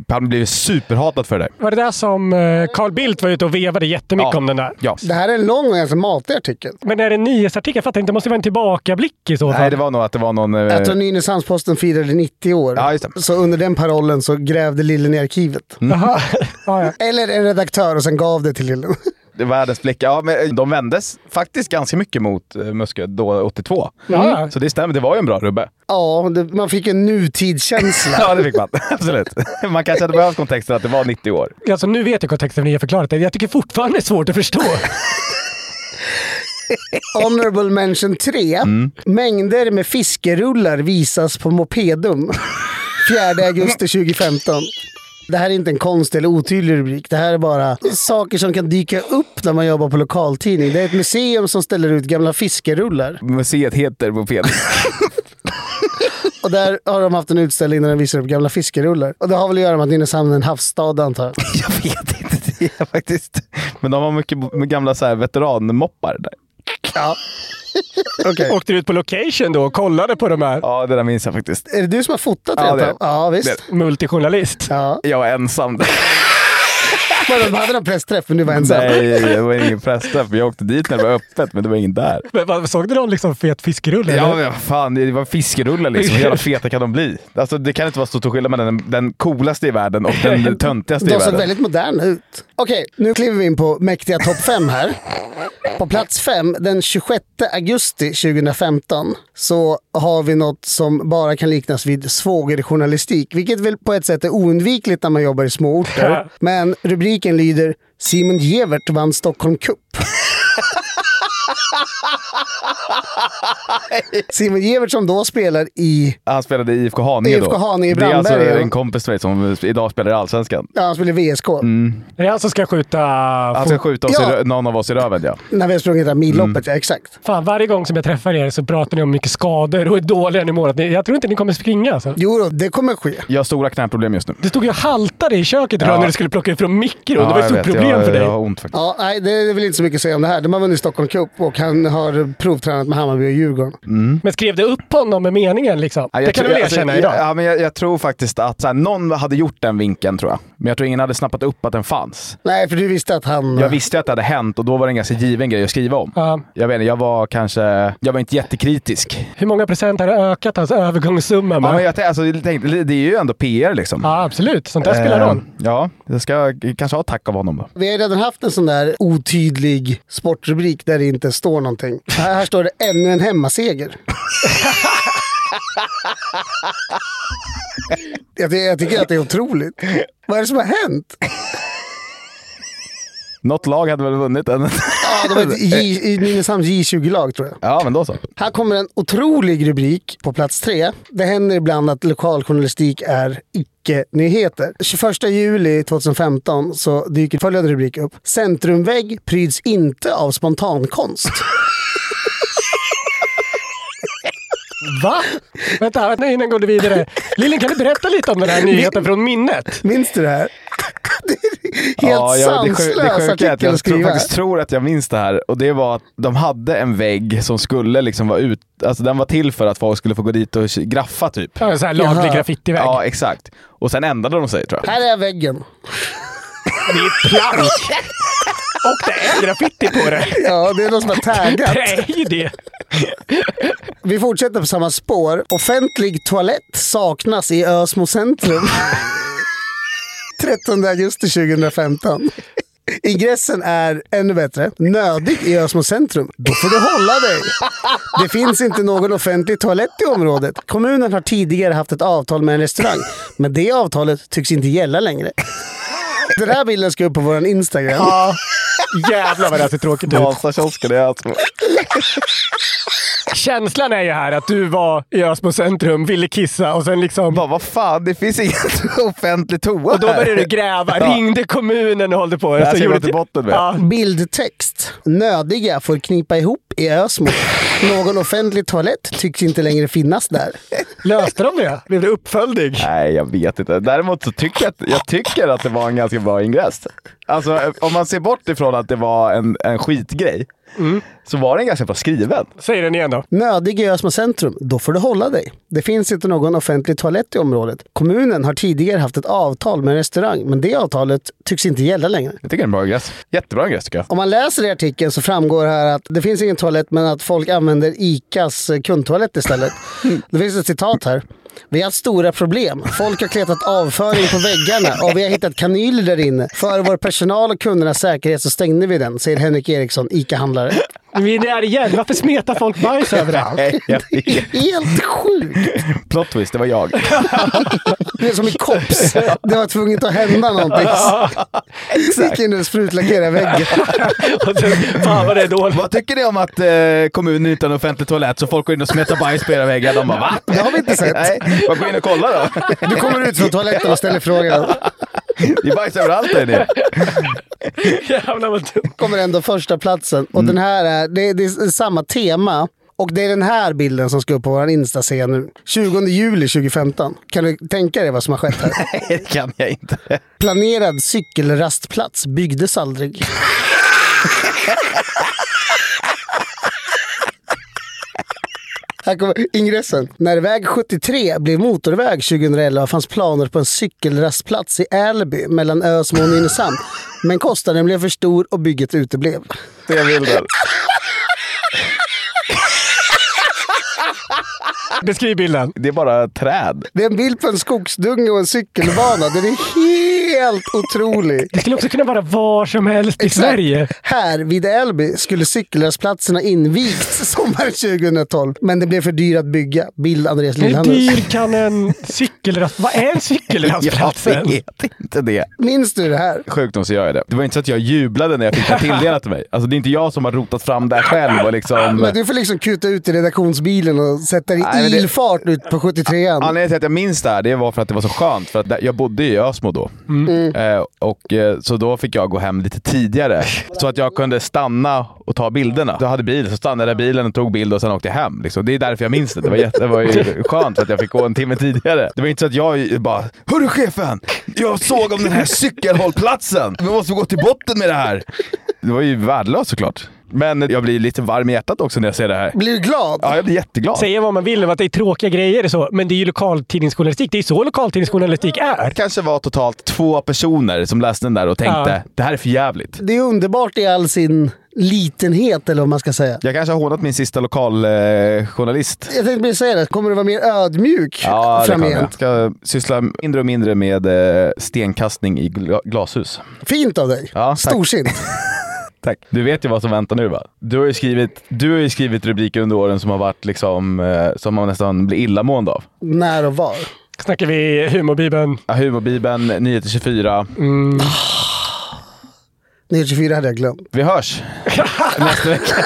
[SPEAKER 1] Palme blev ju superhatad för det där.
[SPEAKER 2] Var det där som eh, Carl Bildt var ute och vevade jättemycket om den där?
[SPEAKER 1] Ja.
[SPEAKER 3] Det här är en lång och ganska matig artikel.
[SPEAKER 2] Men är det en nyhetsartikel? Jag fattar inte, det måste ju vara en tillbakablick i så fall.
[SPEAKER 1] Nej, det var nog att det var någon... eh,
[SPEAKER 3] Jag tror Nynäshamns-Posten firade 90 år. Så under den parollen så grävde Lillen i arkivet.
[SPEAKER 1] Mm.
[SPEAKER 3] Eller en redaktör och sen gav det till Lillen.
[SPEAKER 1] Det var Världens blick. Ja, men eh, de vändes faktiskt ganska mycket mot eh, Muskö då, 82.
[SPEAKER 3] Ja.
[SPEAKER 1] Så det stämmer, det var ju en bra rubbe.
[SPEAKER 3] Ja, det, man fick en nutidskänsla.
[SPEAKER 1] Ja, det fick man. Absolut. Man kanske hade behövt kontexten att det var 90 år.
[SPEAKER 2] Alltså nu vet jag kontexten när ni har förklarat det. Jag tycker fortfarande det är svårt att förstå.
[SPEAKER 3] Honorable mention 3.
[SPEAKER 1] Mm.
[SPEAKER 3] Mängder med fiskerullar visas på Mopedum. 4 augusti 2015. Det här är inte en konstig eller otydlig rubrik. Det här är bara saker som kan dyka upp när man jobbar på lokaltidning. Det är ett museum som ställer ut gamla fiskerullar.
[SPEAKER 1] Museet heter Moped.
[SPEAKER 3] Och där har de haft en utställning där de visar upp gamla fiskerullar. Och det har väl att göra med att Nynäshamn är en havsstad antar jag.
[SPEAKER 1] Ja, faktiskt. Men de har mycket b- gamla så här veteranmoppar där.
[SPEAKER 3] Ja. Okej.
[SPEAKER 2] Åkte du ut på location då och kollade på de här?
[SPEAKER 1] Ja, det där minns jag faktiskt.
[SPEAKER 3] Är det du som har fotat
[SPEAKER 1] Ja,
[SPEAKER 3] det?
[SPEAKER 1] det är det.
[SPEAKER 3] Ja, visst.
[SPEAKER 1] Det
[SPEAKER 2] Multijournalist.
[SPEAKER 3] Ja.
[SPEAKER 1] Jag var ensam där.
[SPEAKER 3] Men de hade en pressträff, men du var ensam.
[SPEAKER 1] Nej, det var ingen pressträff. Jag åkte dit när det var öppet, men det var ingen där.
[SPEAKER 2] Men, vad, såg du någon liksom fet fiskrulle?
[SPEAKER 1] Ja,
[SPEAKER 2] eller?
[SPEAKER 1] men vad fan, det var fiskerullar liksom. Hur jävla feta kan de bli? Alltså, det kan inte vara så stor skillnad mellan den, den coolaste i världen och den töntigaste i
[SPEAKER 3] De såg
[SPEAKER 1] världen.
[SPEAKER 3] väldigt moderna ut. Okej, nu kliver vi in på mäktiga topp 5 här. På plats 5, den 26 augusti 2015, så har vi något som bara kan liknas vid svågerjournalistik, vilket väl på ett sätt är oundvikligt när man jobbar i småorter. Men rubriken lyder “Simon Gevert vann Stockholm Cup”. Simon Gevert som då spelar i
[SPEAKER 1] Han spelade i IFK Haninge då.
[SPEAKER 3] IFK Haninge
[SPEAKER 1] det är alltså
[SPEAKER 3] Brandberg, ja.
[SPEAKER 1] en kompis till mig som idag spelar i Allsvenskan.
[SPEAKER 3] Ja, han spelar i VSK.
[SPEAKER 2] Är det han som ska skjuta...
[SPEAKER 1] Han ska skjuta oss i
[SPEAKER 3] Ja.
[SPEAKER 1] rö- någon av oss i röven, ja.
[SPEAKER 3] När vi har sprungit det här milloppet, ja exakt.
[SPEAKER 2] Fan, varje gång som jag träffar er så pratar ni om mycket skador och hur dåliga ni mår. Att ni- Jag tror inte ni kommer springa. Alltså.
[SPEAKER 3] Jo, då, det kommer ske.
[SPEAKER 1] Jag har stora knäproblem just nu.
[SPEAKER 2] Du stod ju och haltade i köket
[SPEAKER 1] Ja.
[SPEAKER 2] idag när du skulle plocka ifrån mikron. det var ett
[SPEAKER 1] jag
[SPEAKER 2] stort
[SPEAKER 1] vet.
[SPEAKER 2] problem
[SPEAKER 1] jag,
[SPEAKER 2] för dig.
[SPEAKER 1] Jag har ont faktiskt.
[SPEAKER 3] Ja, nej, det är väl inte så mycket att säga om det här. De har vunnit Stockholm Cup och han har provtränat med Hammarby och Djurgården.
[SPEAKER 2] Men skrev du upp honom med meningen? Liksom?
[SPEAKER 1] Ja, jag
[SPEAKER 2] det kan
[SPEAKER 1] tror-
[SPEAKER 2] du väl
[SPEAKER 1] alltså,
[SPEAKER 2] erkänna idag?
[SPEAKER 1] Jag, ja, men jag, jag tror faktiskt att så här, någon hade gjort den vinkeln, tror jag. Men jag tror ingen hade snappat upp att den fanns.
[SPEAKER 3] Nej, för du visste att han...
[SPEAKER 1] Jag visste ju att det hade hänt och då var det en ganska given grej att skriva om.
[SPEAKER 2] Ja.
[SPEAKER 1] Jag vet inte, jag var kanske... Jag var inte jättekritisk.
[SPEAKER 2] Hur många procent har det ökat hans övergångssumma
[SPEAKER 1] Ja,
[SPEAKER 2] med?
[SPEAKER 1] men jag, tän- alltså, jag tänkte, det är ju ändå PR liksom.
[SPEAKER 2] Ja, absolut. Sånt där spelar
[SPEAKER 1] Eh,
[SPEAKER 2] roll.
[SPEAKER 1] Ja, jag ska kanske ha tack av honom då.
[SPEAKER 3] Vi har ju redan haft en sån där otydlig sportrubrik där det inte står någonting. Här, här står det ännu en hemmaseger. jag, ty- jag tycker att det är otroligt. Vad är det som har hänt?
[SPEAKER 1] Något lag hade väl vunnit den.
[SPEAKER 3] Ja, de var ett J- i Nynäshamns J20-lag tror jag.
[SPEAKER 1] ja, men då så.
[SPEAKER 3] Här kommer en otrolig rubrik på plats tre. Det händer ibland att lokaljournalistik är icke-nyheter. 21 juli 2015 så dyker följande rubrik upp. Centrumvägg pryds inte av spontankonst.
[SPEAKER 2] Va? Vänta, vänta, innan går du vidare. Lillen, kan du berätta lite om den här nyheten från minnet?
[SPEAKER 3] Minns du det här? Helt
[SPEAKER 1] ja, jag, det, sjuk- det
[SPEAKER 3] sanslös
[SPEAKER 1] sjuka är att jag
[SPEAKER 3] artikel att
[SPEAKER 1] tror,
[SPEAKER 3] skriva.
[SPEAKER 1] faktiskt tror att jag minns det här. Och det var att de hade en vägg som skulle liksom vara ut... Alltså den var till för att folk skulle få gå dit och graffa typ.
[SPEAKER 2] Ja, en sån här laglig
[SPEAKER 3] Jaha.
[SPEAKER 2] graffitivägg.
[SPEAKER 1] Ja, exakt. Och sen ändrade de sig tror jag.
[SPEAKER 3] Här är väggen.
[SPEAKER 2] Det är plank! Och det är graffiti på det.
[SPEAKER 3] Ja, det är någon som har taggat.
[SPEAKER 2] Det är ju det.
[SPEAKER 3] Vi fortsätter på samma spår. Offentlig toalett saknas i Ösmo centrum. 13 augusti 2015. Ingressen är ännu bättre. Nödigt i Ösmo centrum. Då får du hålla dig. Det finns inte någon offentlig toalett i området. Kommunen har tidigare haft ett avtal med en restaurang, men det avtalet tycks inte gälla längre. Den här bilden ska upp på vår Instagram.
[SPEAKER 2] Jävlar vad det här ser tråkigt ut.
[SPEAKER 1] alltså- Vasakiosken i Ösmo.
[SPEAKER 2] Känslan är ju här att du var i Ösmo centrum, ville kissa och sen liksom... Bara,
[SPEAKER 1] vad fan, det finns ingen offentlig toa
[SPEAKER 2] Och då började
[SPEAKER 1] här.
[SPEAKER 2] du gräva.
[SPEAKER 1] Ja.
[SPEAKER 2] Ringde kommunen och hållde på.
[SPEAKER 1] Det här
[SPEAKER 2] Så
[SPEAKER 1] ska jag
[SPEAKER 2] gjorde-
[SPEAKER 1] gå till botten med.
[SPEAKER 2] Ja.
[SPEAKER 3] Bildtext. Nödiga får knipa ihop i Ösmo. Någon offentlig toalett tycks inte längre finnas där.
[SPEAKER 2] Löste de det? Blev det uppföljning?
[SPEAKER 1] Nej, jag vet inte. Däremot så tycker jag, att, jag tycker att det var en ganska bra ingress. Alltså, om man ser bort ifrån att det var en, en skitgrej, så var den ganska bra skriven.
[SPEAKER 2] Säg den igen då.
[SPEAKER 3] Nödig i Ösmo centrum, då får du hålla dig. Det finns inte någon offentlig toalett i området. Kommunen har tidigare haft ett avtal med en restaurang, men det avtalet tycks inte gälla längre.
[SPEAKER 1] Jag tycker det är en bra ingress. Jättebra ingress tycker jag.
[SPEAKER 3] Om man läser i artikeln så framgår här att det finns ingen toalett men att folk använder ICAs eh, kundtoalett istället. Det finns ett citat här. Vi har haft stora problem. Folk har kletat avföring på väggarna och vi har hittat kanyler där inne. För vår personal och kundernas säkerhet så stängde vi den, säger Henrik Eriksson, ICA-handlare.
[SPEAKER 2] Vi är där igen. Varför smetar folk bajs överallt?
[SPEAKER 1] Nej, jag vet.
[SPEAKER 3] Helt sjukt!
[SPEAKER 1] Plot twist, det var jag.
[SPEAKER 3] Det är som i Kops. Det var tvunget att hända någonting. Exakt. Gick in och sprutlackera väggen.
[SPEAKER 2] Fan vad det är dåligt.
[SPEAKER 1] Vad tycker ni om att eh, kommunen inte har en offentlig toalett så folk går in och smetar bajs på era väggar? De bara va?
[SPEAKER 3] Det har vi inte sett.
[SPEAKER 1] Nej, man går in och kollar då.
[SPEAKER 3] Du kommer ut från toaletten och ställer frågan.
[SPEAKER 1] Det är bajs överallt där inne.
[SPEAKER 2] Jävlar vad dumt.
[SPEAKER 3] kommer ändå första platsen. Och den här är, det, det är samma tema. Och det är den här bilden som ska upp på vår Insta-scen nu. 20 juli 2015. Kan du tänka dig vad som har skett här?
[SPEAKER 1] Nej, det kan jag inte.
[SPEAKER 3] Planerad cykelrastplats byggdes aldrig. Här kommer ingressen. När väg 73 blev motorväg 2011 fanns planer på en cykelrastplats i Älby mellan Ösmo och Nynäshamn. Men kostnaden blev för stor och bygget uteblev.
[SPEAKER 1] Se bilden.
[SPEAKER 2] Beskriv bilden.
[SPEAKER 1] Det är bara träd.
[SPEAKER 3] Det är en bild på en skogsdunge och en cykelbana. Den är helt otrolig.
[SPEAKER 2] Det skulle också kunna vara var som helst i Sverige.
[SPEAKER 3] Här vid Älby skulle cykelrastplatsen ha invigts sommaren 2012, men det blev för dyrt att bygga. Bild Andreas
[SPEAKER 2] Hur
[SPEAKER 3] Lillhammer.
[SPEAKER 2] dyr kan en cykelrast... Vad är en cykelrastplats
[SPEAKER 1] Jag
[SPEAKER 2] ens?
[SPEAKER 1] vet inte det.
[SPEAKER 3] Minns du det här?
[SPEAKER 1] Sjukt nog så gör jag det. Det var inte så att jag jublade när jag fick det tilldelat till mig. Alltså det är inte jag som har rotat fram det här själv och liksom...
[SPEAKER 3] Men du får liksom kuta ut i redaktionsbilen och sätta dig
[SPEAKER 1] Nej, men
[SPEAKER 3] i
[SPEAKER 1] det-
[SPEAKER 3] ilfart ut på 73an.
[SPEAKER 1] Anledningen till att jag minns det här, det var för att det var så skönt. För att där- jag bodde i Ösmo då. Eh, och, eh, så då fick jag gå hem lite tidigare. Så att jag kunde stanna och ta bilderna. Jag hade bil, så stannade jag i bilen och tog bild och sen åkte jag hem. Liksom. Det är därför jag minns det. Det var, jätte, det var ju skönt att jag fick gå en timme tidigare. Det var inte så att jag bara “Hörru chefen! Jag såg om den här cykelhållplatsen! Vi måste gå till botten med det här!” Det var ju värdelöst såklart. Men jag blir lite varm i hjärtat också när jag ser det här.
[SPEAKER 3] Blir du glad?
[SPEAKER 1] Ja, jag blir jätteglad.
[SPEAKER 2] Säga vad man vill om att det är tråkiga grejer och så, men det är ju lokaltidningsjournalistik. Det är så lokaltidningsjournalistik är.
[SPEAKER 1] kanske var totalt två personer som läste den där och tänkte det här är för jävligt.
[SPEAKER 3] Det är underbart i all sin litenhet, eller vad man ska säga.
[SPEAKER 1] Jag kanske har hånat min sista lokaljournalist. Eh, journalist.
[SPEAKER 3] Jag tänkte bara säga det, kommer du vara mer ödmjuk
[SPEAKER 1] ja, det kommer jag.
[SPEAKER 3] framgent?
[SPEAKER 1] Ska syssla mindre och mindre med eh, stenkastning i gla- glashus.
[SPEAKER 3] Fint av dig.
[SPEAKER 1] Ja, tack.
[SPEAKER 3] Storsint.
[SPEAKER 1] Tack. Du vet ju vad som väntar nu va? Du har ju skrivit, du har ju skrivit rubriker under åren som har varit liksom, eh, som man nästan blir illamående av.
[SPEAKER 3] När och var.
[SPEAKER 2] Snackar vi humorbibeln.
[SPEAKER 1] Ja, Humorbibeln, Nyheter 24.
[SPEAKER 3] Nyheter 24 hade jag glömt.
[SPEAKER 1] Vi hörs nästa vecka.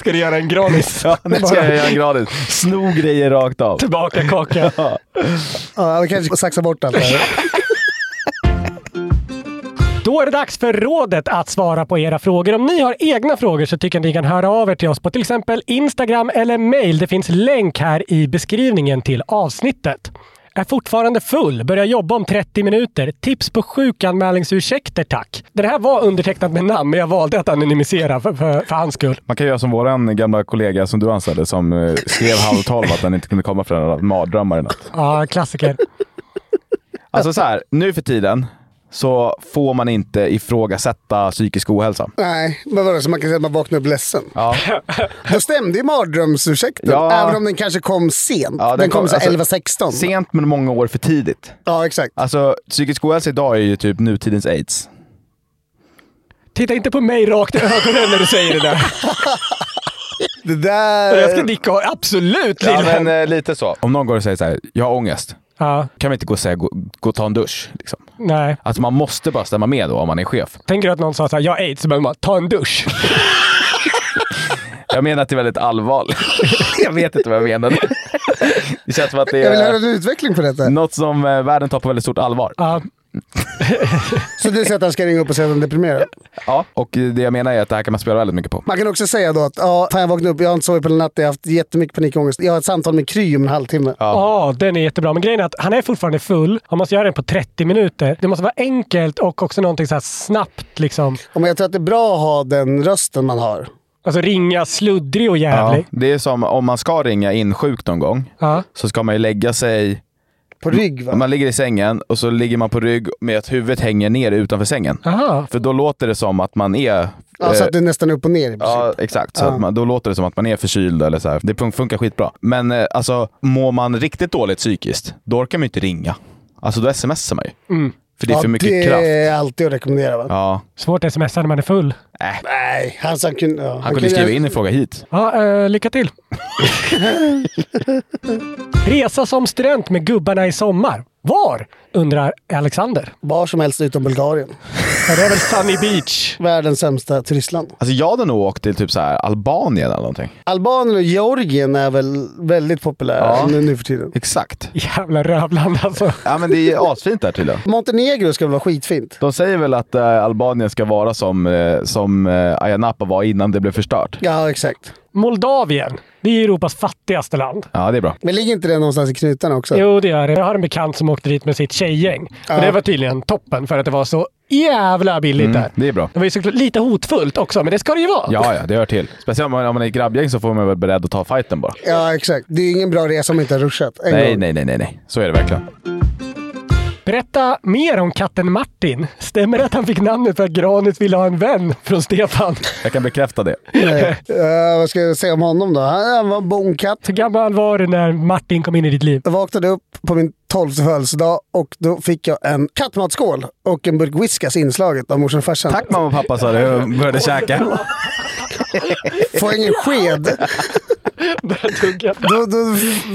[SPEAKER 2] Ska du göra en granis?
[SPEAKER 1] Ja, nu ska jag göra en gradis. Sno grejer rakt av.
[SPEAKER 2] Tillbaka kaka.
[SPEAKER 3] Ja, vi kanske saxar bort allt det här.
[SPEAKER 2] Då är det dags för rådet att svara på era frågor. Om ni har egna frågor så tycker jag att ni kan höra av er till oss på till exempel Instagram eller mail. Det finns länk här i beskrivningen till avsnittet. Är fortfarande full, börjar jobba om 30 minuter. Tips på sjukanmälningsursäkter tack. Det här var undertecknat med namn, men jag valde att anonymisera för, för, för hans skull.
[SPEAKER 1] Man kan göra som våran gamla kollega som du anställde som eh, skrev halv tolv att han inte kunde komma för han hade haft mardrömmar i natt.
[SPEAKER 2] Ja, klassiker.
[SPEAKER 1] Alltså så här, nu för tiden så får man inte ifrågasätta psykisk ohälsa.
[SPEAKER 3] Nej, men vadå, så man kan säga att man vaknar upp ledsen?
[SPEAKER 1] Ja.
[SPEAKER 3] Då stämde ju mardrömsursäkten,
[SPEAKER 1] Ja.
[SPEAKER 3] även om den kanske kom sent.
[SPEAKER 1] Ja, alltså,
[SPEAKER 3] den, kom, så 11-16.
[SPEAKER 1] Sent men många år för tidigt.
[SPEAKER 3] Ja, exakt.
[SPEAKER 1] Alltså psykisk ohälsa idag är ju typ nutidens aids.
[SPEAKER 2] Titta inte på mig rakt i ögonen när du säger det där.
[SPEAKER 3] Det där...
[SPEAKER 2] Jag ska nicka, absolut
[SPEAKER 1] Ja,
[SPEAKER 2] lilla.
[SPEAKER 1] men eh, lite så. Om någon går och säger så här, jag har ångest.
[SPEAKER 2] Ja,
[SPEAKER 1] Kan vi inte gå och säga, gå, gå och ta en dusch? Liksom.
[SPEAKER 2] nej.
[SPEAKER 1] Alltså man måste bara stämma med då om man är chef.
[SPEAKER 2] Tänker du att någon sa såhär, jag har aids, men bara, ta en dusch.
[SPEAKER 1] Jag menar att det är väldigt allvarligt. Jag vet inte vad jag menade. Det känns som att det
[SPEAKER 3] Jag vill höra
[SPEAKER 1] är
[SPEAKER 3] en utveckling på detta.
[SPEAKER 1] något som eh, världen tar på väldigt stort allvar.
[SPEAKER 3] Så du säger att han ska ringa upp och säga att han är deprimerad?
[SPEAKER 1] Ja, och eh, det jag menar är att det här kan man spela väldigt mycket på.
[SPEAKER 3] Man kan också säga då att ja, fan jag vaknade upp, jag har inte sovit på hela natten, jag har haft jättemycket panikångest. Jag har ett samtal med Kry om en halvtimme.
[SPEAKER 2] Ja, den är jättebra. Men grejen är att han är fortfarande full. Han måste göra den på 30 minuter. Det måste vara enkelt och också någonting så här snabbt liksom.
[SPEAKER 3] Men jag tror att det är bra att ha den rösten man har.
[SPEAKER 2] Alltså ringa sluddrig och
[SPEAKER 1] Ja,
[SPEAKER 2] jävlig.
[SPEAKER 1] det är som om man ska ringa in sjuk någon gång
[SPEAKER 2] Ja.
[SPEAKER 1] så ska man ju lägga sig...
[SPEAKER 3] På rygg va?
[SPEAKER 1] Man ligger i sängen och så ligger man på rygg med att huvudet hänger ner utanför sängen.
[SPEAKER 2] Aha.
[SPEAKER 1] För då låter det som att man är...
[SPEAKER 3] Ja, så
[SPEAKER 1] eh,
[SPEAKER 3] att det är nästan upp och ner i princip.
[SPEAKER 1] Ja, exakt. Så
[SPEAKER 3] Ja.
[SPEAKER 1] Att man, då låter det som att man är förkyld eller så här. Det fun- funkar skitbra. Men eh, alltså, mår man riktigt dåligt psykiskt, då orkar man ju inte ringa. Alltså då smsar man ju. För det är
[SPEAKER 3] Mm. Ja,
[SPEAKER 1] för mycket
[SPEAKER 3] det
[SPEAKER 1] kraft.
[SPEAKER 3] är alltid att rekommendera va?
[SPEAKER 1] Ja.
[SPEAKER 2] Svårt att smsa när man är full.
[SPEAKER 3] Nej, han, han kunde... Ja,
[SPEAKER 1] Han kunde skriva in en fråga hit.
[SPEAKER 2] Ja, eh, lycka till. Resa som student med gubbarna i sommar. Var? Undrar Alexander.
[SPEAKER 3] Var som helst utom Bulgarien.
[SPEAKER 2] Ja, det är väl Sunny Beach.
[SPEAKER 3] Världens sämsta turistland.
[SPEAKER 1] Alltså jag hade nog åkt till typ så här Albanien eller någonting.
[SPEAKER 3] Albanien och Georgien är väl väldigt populära
[SPEAKER 1] Ja.
[SPEAKER 3] nu, nu för tiden.
[SPEAKER 1] Exakt.
[SPEAKER 2] Jävla rövland alltså.
[SPEAKER 1] Ja men det är asfint där tydligen.
[SPEAKER 3] Montenegro ska väl vara skitfint?
[SPEAKER 1] De säger väl att eh, Albanien ska vara som, eh, som eh, Ayia Napa var innan det blev förstört.
[SPEAKER 3] Ja, exakt.
[SPEAKER 2] Moldavien. Det är Europas fattigaste land.
[SPEAKER 1] Ja, det är bra.
[SPEAKER 3] Men ligger inte det någonstans i knutarna också?
[SPEAKER 1] Alltså-
[SPEAKER 2] Jo, det gör det. Jag har en bekant som åkte dit med sitt tjejgäng. Och det var tydligen toppen för att det var så jävla billigt
[SPEAKER 1] Mm,
[SPEAKER 2] där.
[SPEAKER 1] det är bra.
[SPEAKER 2] Det var ju såklart lite hotfullt också, men det ska det ju vara.
[SPEAKER 1] Ja, ja, det hör till. Speciellt om man, om man är ett grabbgäng så får man vara beredd att ta fighten bara.
[SPEAKER 3] Ja, exakt. Det är ju ingen bra resa om man inte har ruschat. En
[SPEAKER 1] Nej,
[SPEAKER 3] gång.
[SPEAKER 1] nej, nej, nej, nej. Så är det verkligen.
[SPEAKER 2] Berätta mer om katten Martin. Stämmer det att han fick namnet för att Granis ville ha en vän från Stefan?
[SPEAKER 1] Jag kan bekräfta det.
[SPEAKER 3] Nej. Eh, vad ska jag säga om honom då? Han, han var en bonkatt.
[SPEAKER 2] Hur gammal var du när Martin kom in i ditt liv?
[SPEAKER 3] Jag vaknade upp på min 12 födelsedag och då fick jag en kattmatskål och en burk whiskas inslaget av morsan och farsan.
[SPEAKER 1] Tack mamma och pappa sa du jag började käka.
[SPEAKER 3] Får jag ingen sked?
[SPEAKER 2] Började tugga.
[SPEAKER 3] Då,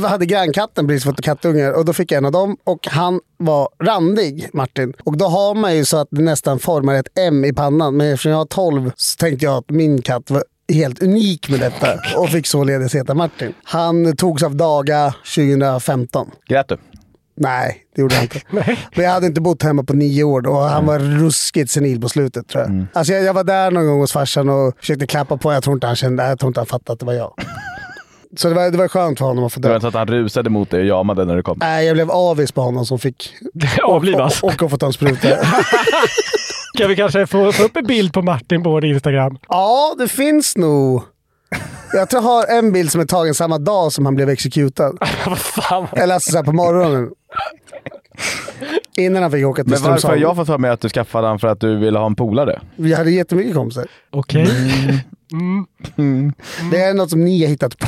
[SPEAKER 3] då hade grannkatten precis fått kattungar och då fick jag en av dem och han var randig, Martin. Och då har man ju så att det nästan formar ett M i pannan. Men eftersom jag har 12 så tänkte jag att min katt var helt unik med detta och fick således heta Martin. Han togs av daga 2015.
[SPEAKER 1] Grät du?
[SPEAKER 3] Nej, det gjorde jag inte. Men jag hade inte bott hemma på nio år då och han var ruskigt senil på slutet tror
[SPEAKER 1] Mm.
[SPEAKER 3] jag. Alltså jag, jag var där någon gång hos farsan och försökte klappa på. Jag tror inte han kände, jag tror inte han fattade att det var jag. Så det var, det var skönt för honom att få
[SPEAKER 1] Det var
[SPEAKER 3] dö.
[SPEAKER 1] inte så att han rusade mot dig och jamade när du kom.
[SPEAKER 3] Nej, jag blev avis på honom som fick
[SPEAKER 2] Avlivas.
[SPEAKER 3] åka och få ta en spruta.
[SPEAKER 2] Kan vi kanske få, få upp en bild på Martin på vår Instagram?
[SPEAKER 3] ja, det finns nog. Jag tror jag har en bild som är tagen samma dag som han blev exekutad.
[SPEAKER 2] Vad fan?
[SPEAKER 3] Eller alltså så här på morgonen. Innan han fick åka till
[SPEAKER 1] Men varför har
[SPEAKER 3] Strömsholm.
[SPEAKER 1] jag fått för mig att du skaffade han för att du ville ha en polare?
[SPEAKER 3] Vi hade jättemycket kompisar.
[SPEAKER 2] Okej.
[SPEAKER 1] Mm.
[SPEAKER 3] Det är något som ni har hittat på.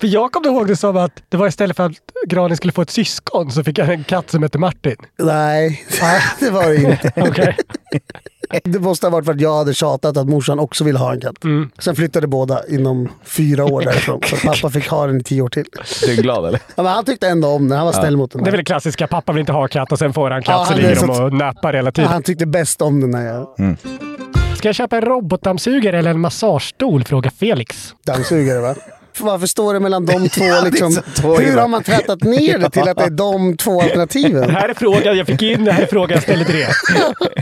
[SPEAKER 2] För jag kommer ihåg det som att det var istället för att Granis skulle få ett syskon så fick han en katt som hette Martin.
[SPEAKER 3] Nej, det var det inte.
[SPEAKER 2] Okej.
[SPEAKER 3] Det måste ha varit för att jag hade tjatat att morsan också ville ha en katt.
[SPEAKER 2] Mm.
[SPEAKER 3] Sen flyttade båda inom fyra år därifrån. Så pappa fick ha den i tio år till.
[SPEAKER 1] Du är glad eller?
[SPEAKER 3] Ja, men han tyckte ändå om den. Han var snäll mot den.
[SPEAKER 2] Det är väl det klassiska, pappa vill inte ha katt och sen får han katt
[SPEAKER 3] Ja,
[SPEAKER 2] så
[SPEAKER 3] han är
[SPEAKER 2] ligger de
[SPEAKER 3] så-
[SPEAKER 2] och nappar hela
[SPEAKER 3] Ja,
[SPEAKER 2] tiden.
[SPEAKER 3] Han tyckte bäst om den här jag
[SPEAKER 2] Ska jag köpa en robotdammsugare eller en massagestol? Frågar Felix.
[SPEAKER 3] dammsugare. Va? För Varför står det mellan de två? Liksom,
[SPEAKER 1] så tråkigt,
[SPEAKER 3] hur
[SPEAKER 1] va?
[SPEAKER 3] har man tvättat ner det till att det är de två
[SPEAKER 2] Det
[SPEAKER 3] alternativen?
[SPEAKER 2] här är frågan jag fick in, det här är frågan jag ställde till er.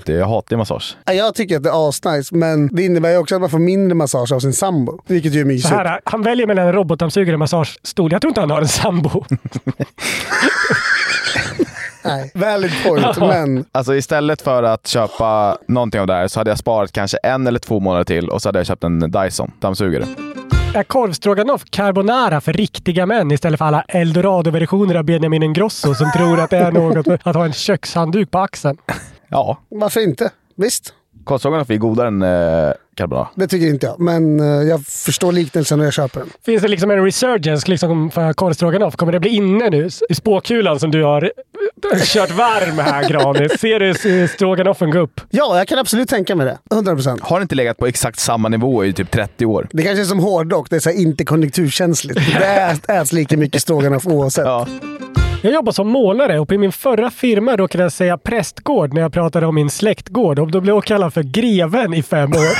[SPEAKER 1] Det, jag hatar ju massage.
[SPEAKER 3] Ja, Jag tycker att det är asnice, men det innebär ju också att man får mindre massage av sin sambo. Vilket ju är
[SPEAKER 2] Så
[SPEAKER 3] mysigt.
[SPEAKER 2] här, han väljer mellan en robotdammsugare och en massagestol. Jag tror inte han har en sambo.
[SPEAKER 3] Nej, valid point, men
[SPEAKER 1] Alltså istället för att köpa någonting av det här så hade jag sparat kanske en eller två månader till och så hade jag köpt en Dyson dammsugare.
[SPEAKER 2] Är korvstroganoff carbonara för riktiga män istället för alla eldorado-versioner av Benjamin Ingrosso som tror att det är något med att ha en kökshandduk på axeln?
[SPEAKER 1] Ja,
[SPEAKER 3] varför inte? Visst?
[SPEAKER 1] korvstroganoff är godare än eh, carbonara.
[SPEAKER 3] Det tycker inte jag, men eh, jag förstår liknelsen och jag köper den.
[SPEAKER 2] Finns det liksom en resurgence liksom för korvstroganoff? Kommer det bli inne nu? I spåkulan som du har eh, kört varm här Granis. Ser du eh, stroganoffen gå upp?
[SPEAKER 3] Ja, jag kan absolut tänka mig det. 100%.
[SPEAKER 1] Har inte legat på exakt samma nivå i typ 30 år.
[SPEAKER 3] Det kanske är som hårdrock, det är så här inte konjunkturkänsligt. Det äts, äts lika mycket stroganoff oavsett.
[SPEAKER 1] Ja.
[SPEAKER 2] Jag jobbar som målare och i min förra firma råkade jag säga prästgård när jag pratade om min släktgård och då blev jag kallad för greven i fem år.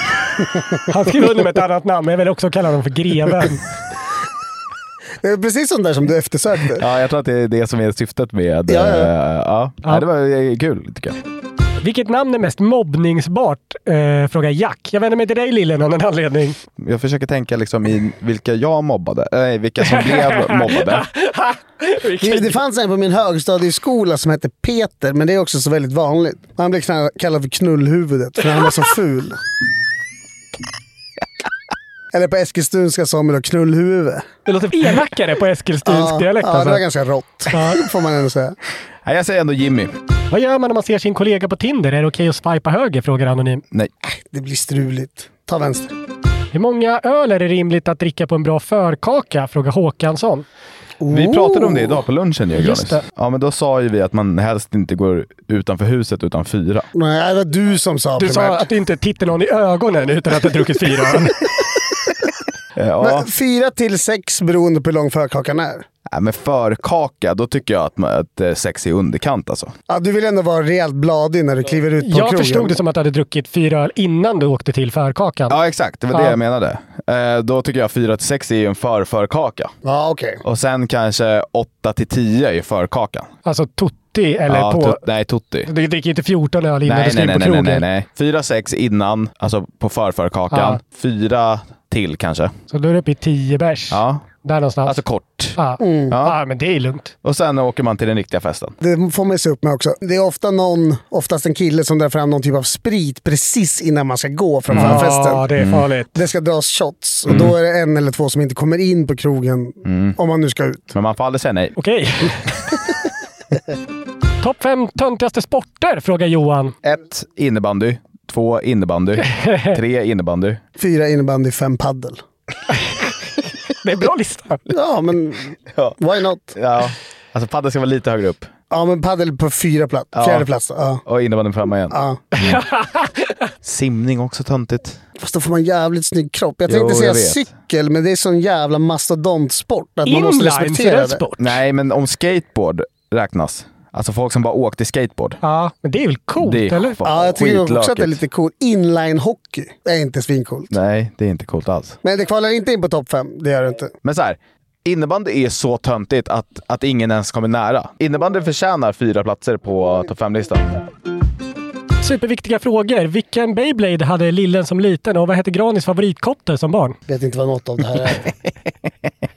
[SPEAKER 2] Han skrev under med ett annat namn, men jag vill också kalla honom för greven.
[SPEAKER 3] Det är precis sånt där som du eftersökte.
[SPEAKER 1] Ja, jag tror att det är det som är syftet med...
[SPEAKER 3] Ja, ja.
[SPEAKER 1] eh, ja. Nej, det var eh, kul tycker jag.
[SPEAKER 2] Vilket namn är mest mobbningsbart? Eh, frågar Jack. Jag vänder mig till dig Lillen av någon anledning.
[SPEAKER 1] Jag försöker tänka liksom i vilka jag mobbade, nej vilka som blev mobbade.
[SPEAKER 3] Det, det fanns en på min högstadieskola som hette Peter, men det är också så väldigt vanligt. Han blev knall- kallad för knullhuvudet för han var så ful. Eller på eskilstunska sa man då knullhuvud.
[SPEAKER 2] Det låter elakare på alltså. eskilstunsk
[SPEAKER 3] ja,
[SPEAKER 2] dialekt.
[SPEAKER 3] Ja, det var ganska rått. Får man ändå säga.
[SPEAKER 1] Nej, jag säger ändå Jimmy.
[SPEAKER 2] Vad gör man när man ser sin kollega på Tinder? Är det okej att swipa höger? Frågar Anonym.
[SPEAKER 1] Nej.
[SPEAKER 3] Det blir struligt. Ta vänster.
[SPEAKER 2] Hur många öl är det rimligt att dricka på en bra förkaka? Frågar Håkansson.
[SPEAKER 1] Vi pratade om det idag på lunchen ju,
[SPEAKER 2] Oh. Just
[SPEAKER 1] Granis. Ja, men då sa ju vi att man helst inte går utanför huset utan fyra.
[SPEAKER 3] Nej, det var du som sa
[SPEAKER 2] Du sa
[SPEAKER 3] primärt.
[SPEAKER 2] att du inte tittar någon i ögonen utan att du druckit fyra öl.
[SPEAKER 1] Eh, Ja.
[SPEAKER 3] Men fyra till sex beroende på hur lång förkakan är.
[SPEAKER 1] Nej, men förkaka, då tycker jag att, man- att eh, sex är i underkant alltså.
[SPEAKER 3] Ja, du vill ändå vara rejält bladig när du kliver ut på
[SPEAKER 2] Jag
[SPEAKER 3] krogen.
[SPEAKER 2] förstod det som att du hade druckit fyra öl innan du åkte till förkakan.
[SPEAKER 1] Ja, exakt. Det var det
[SPEAKER 2] Ja.
[SPEAKER 1] jag menade. Eh, Då tycker jag 4 till 6 är ju en förförkaka.
[SPEAKER 3] Ja, okej.
[SPEAKER 1] Och sen kanske 8 till 10 är förkakan.
[SPEAKER 2] Alltså tutti eller
[SPEAKER 1] ja,
[SPEAKER 2] på...
[SPEAKER 1] tut- nej, tutti.
[SPEAKER 2] Du dricker inte 14 öl innan
[SPEAKER 1] Nej,
[SPEAKER 2] du ska
[SPEAKER 1] nej,
[SPEAKER 2] in
[SPEAKER 1] nej,
[SPEAKER 2] på
[SPEAKER 1] nej, nej,
[SPEAKER 2] krogen.
[SPEAKER 1] nej, nej. 4, 6 innan, alltså på förförkakan.
[SPEAKER 2] Ja.
[SPEAKER 1] 4 till kanske.
[SPEAKER 2] Så då är du uppe i 10 bärs.
[SPEAKER 1] Ja,
[SPEAKER 2] Där någonstans.
[SPEAKER 1] alltså kort.
[SPEAKER 2] ja.
[SPEAKER 1] Ja.
[SPEAKER 2] ja, men det är lugnt.
[SPEAKER 1] Och sen åker man till den riktiga festen.
[SPEAKER 3] Det får man se upp med också. Det är ofta någon, oftast en kille, som drar fram någon typ av sprit precis innan man ska gå från förfesten.
[SPEAKER 2] Ja, Mm. det är farligt.
[SPEAKER 3] Det ska dras shots
[SPEAKER 1] Mm.
[SPEAKER 3] och då är det en eller två som inte kommer in på krogen om man nu ska ut.
[SPEAKER 1] Men man får aldrig säga nej.
[SPEAKER 2] Okej. Topp fem töntigaste sporter? Frågar Johan.
[SPEAKER 1] 1. Innebandy. 2. Innebandy. 3. Innebandy.
[SPEAKER 3] Fyra innebandy, fem paddel.
[SPEAKER 2] Det är en bra lista.
[SPEAKER 3] Ja, men
[SPEAKER 1] Ja.
[SPEAKER 3] why not?
[SPEAKER 1] ja. Alltså padel ska vara lite högre upp.
[SPEAKER 3] Ja, men paddel på fyra plats.
[SPEAKER 1] Ja.
[SPEAKER 3] Fjärde plats. Ja.
[SPEAKER 1] Och innebandy framme igen. Mm.
[SPEAKER 3] Ja.
[SPEAKER 1] Simning också töntigt.
[SPEAKER 3] Fast då får man jävligt snygg kropp. Jag
[SPEAKER 1] Jo,
[SPEAKER 3] tänkte säga
[SPEAKER 1] jag vet.
[SPEAKER 3] cykel, men det är sån jävla mastodontsport att man måste
[SPEAKER 2] Inline, så det är
[SPEAKER 3] respektera
[SPEAKER 2] en
[SPEAKER 3] det.
[SPEAKER 2] sport.
[SPEAKER 1] Nej, men om skateboard räknas. Alltså folk som bara åkte skateboard.
[SPEAKER 2] Ja, men det är väl coolt,
[SPEAKER 1] Det är
[SPEAKER 2] eller?
[SPEAKER 1] fan
[SPEAKER 3] Ja, jag tycker också att
[SPEAKER 1] skitlökigt.
[SPEAKER 3] det är lite coolt. Inline-hockey är inte svincoolt.
[SPEAKER 1] Nej, det är inte coolt alls.
[SPEAKER 3] Men det kvalar inte in på topp fem. Det gör det inte.
[SPEAKER 1] Men så här, innebandy är så töntigt att, att ingen ens kommer nära. Innebandy förtjänar fyra platser på topp fem-listan.
[SPEAKER 2] Superviktiga frågor. Vilken Beyblade hade Lillen som liten och vad hette Granis favoritkotte som barn?
[SPEAKER 3] Vet inte vad något av det här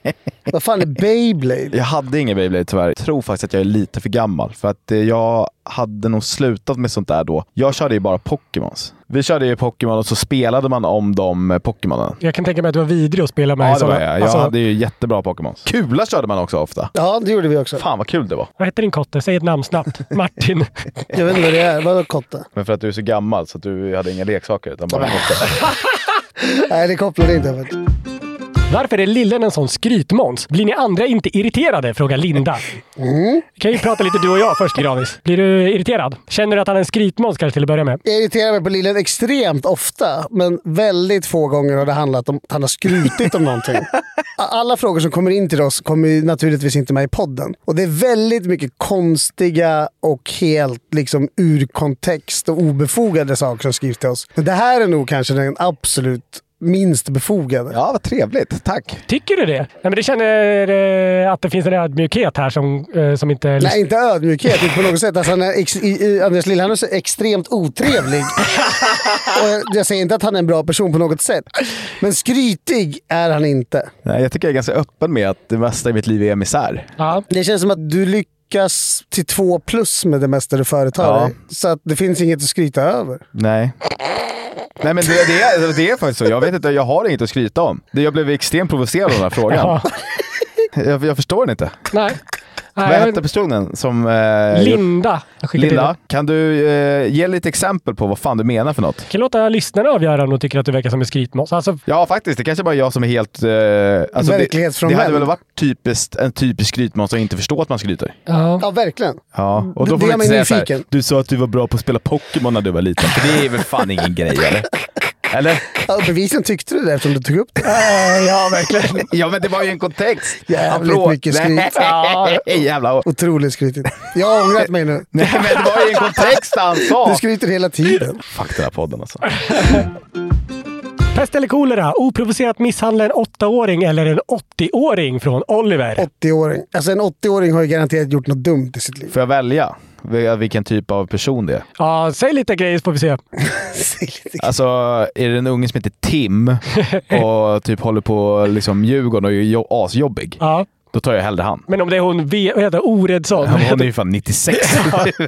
[SPEAKER 3] är. vad fan är Beyblade?
[SPEAKER 1] Jag hade ingen Beyblade tyvärr. Jag tror faktiskt att jag är lite för gammal för att eh, jag hade nog slutat med sånt där då. Jag körde ju bara Pokémons. Vi körde ju Pokémon och så spelade man om de eh, Pokémonen.
[SPEAKER 2] Jag kan tänka mig att du var vidrig att spela med. i
[SPEAKER 1] Ja, det
[SPEAKER 2] sådana-
[SPEAKER 1] var jag. Jag
[SPEAKER 2] Alltså,
[SPEAKER 1] hade ju jättebra Pokémons. Kula körde man också ofta.
[SPEAKER 3] Ja, det gjorde vi också.
[SPEAKER 1] Fan vad kul det var.
[SPEAKER 2] Vad heter din kotte? Säg ett namn snabbt. Martin.
[SPEAKER 3] Jag vet inte vad det är. Vadå kotte?
[SPEAKER 1] Men för att du är så gammal så att du hade inga leksaker utan bara
[SPEAKER 3] Nej, det kopplade inte. jag vet.
[SPEAKER 2] Varför är Lillen en sån skrytmåns? Blir ni andra inte irriterade? Frågar Linda.
[SPEAKER 1] Mm.
[SPEAKER 2] Vi kan ju prata lite du och jag först, Granis. Blir du irriterad? Känner du att han är en skrytmåns kanske till att börja med?
[SPEAKER 3] Jag irriterar mig på Lillen extremt ofta, men väldigt få gånger har det handlat om att han har skrutit om någonting. Alla frågor som kommer in till oss kommer ju naturligtvis inte med i podden. Och det är väldigt mycket konstiga och helt liksom ur kontext och obefogade saker som skrivs till oss. Men det här är nog kanske den absolut minst befogade.
[SPEAKER 1] Ja, vad trevligt. Tack.
[SPEAKER 2] Tycker du det? Nej, men det känner eh, att det finns en ödmjukhet här som, eh, som inte...
[SPEAKER 3] Nej, inte ödmjukhet inte på något sätt. Alltså, han är ex- i, i, Anders Lillhammer är extremt otrevlig. och jag, jag säger inte att han är en bra person på något sätt. Men skrytig är han inte.
[SPEAKER 1] Nej, jag tycker jag är ganska öppen med att det mesta i mitt liv är misär.
[SPEAKER 2] Ja.
[SPEAKER 3] Det känns som att du lyckas till två plus med det mesta du företar
[SPEAKER 1] Ja.
[SPEAKER 3] dig. Så att det finns inget att skryta över.
[SPEAKER 1] Nej. Nej men det, det, är, det är faktiskt så. Jag vet inte, jag har inget att skryta om. Det- Jag blev extremt provocerad av den här frågan.
[SPEAKER 2] Ja.
[SPEAKER 1] Jag, jag förstår den inte.
[SPEAKER 2] Nej.
[SPEAKER 1] Vad
[SPEAKER 2] Nej.
[SPEAKER 1] hette personen som... Eh,
[SPEAKER 2] Linda. Jag skickar till dig.
[SPEAKER 1] Linda, kan du eh, ge lite exempel på vad fan du menar för något?
[SPEAKER 2] kan låta lyssnarna avgöra om de tycker att du verkar som en skrytmåns. Alltså,
[SPEAKER 1] Ja, faktiskt. Det kanske bara är jag som är helt... Eh, alltså det, det
[SPEAKER 3] Verklighetsfrånvänd.
[SPEAKER 1] hade väl varit typiskt, en typisk skrytmåns att inte förstå att man skryter.
[SPEAKER 3] Ja, verkligen.
[SPEAKER 1] Ja, och
[SPEAKER 3] Det-
[SPEAKER 1] då
[SPEAKER 3] det
[SPEAKER 1] får
[SPEAKER 3] gör
[SPEAKER 1] man
[SPEAKER 3] mig
[SPEAKER 1] inte säga så här,
[SPEAKER 3] nyfiken.
[SPEAKER 1] Du sa att du var bra på att spela Pokémon när du var liten. För det är väl fan ingen grej, eller? Eller?
[SPEAKER 3] Ja, och bevisligen tyckte du det eftersom du tog upp det.
[SPEAKER 2] ja, verkligen.
[SPEAKER 1] Ja, men det var ju en kontext.
[SPEAKER 3] Eh, Jävligt
[SPEAKER 1] Applåd.
[SPEAKER 3] mycket skryt.
[SPEAKER 1] Nej, jävlar.
[SPEAKER 3] Otroligt skrytigt. Jag har ångrat mig nu.
[SPEAKER 1] Nej, men det var ju en kontext han sa.
[SPEAKER 3] Du skryter hela tiden.
[SPEAKER 1] Fuck den här podden alltså.
[SPEAKER 2] Pest eller kolera? Oprovocerat misshandla en 8-åring eller en 80-åring från Oliver?
[SPEAKER 3] 80-åring. Alltså en 80-åring har ju garanterat gjort något dumt i sitt liv.
[SPEAKER 1] Får jag välja vil- vilken typ av person det är?
[SPEAKER 2] Ja, säg lite grejer så får vi se.
[SPEAKER 1] Alltså, är det en unge som heter Tim och typ håller på liksom Djurgården och är jo- asjobbig,
[SPEAKER 2] ja.
[SPEAKER 1] då tar jag hellre han.
[SPEAKER 2] Men om det är hon V... Vad heter hon? Oredsson?
[SPEAKER 1] Hon är ju fan 96.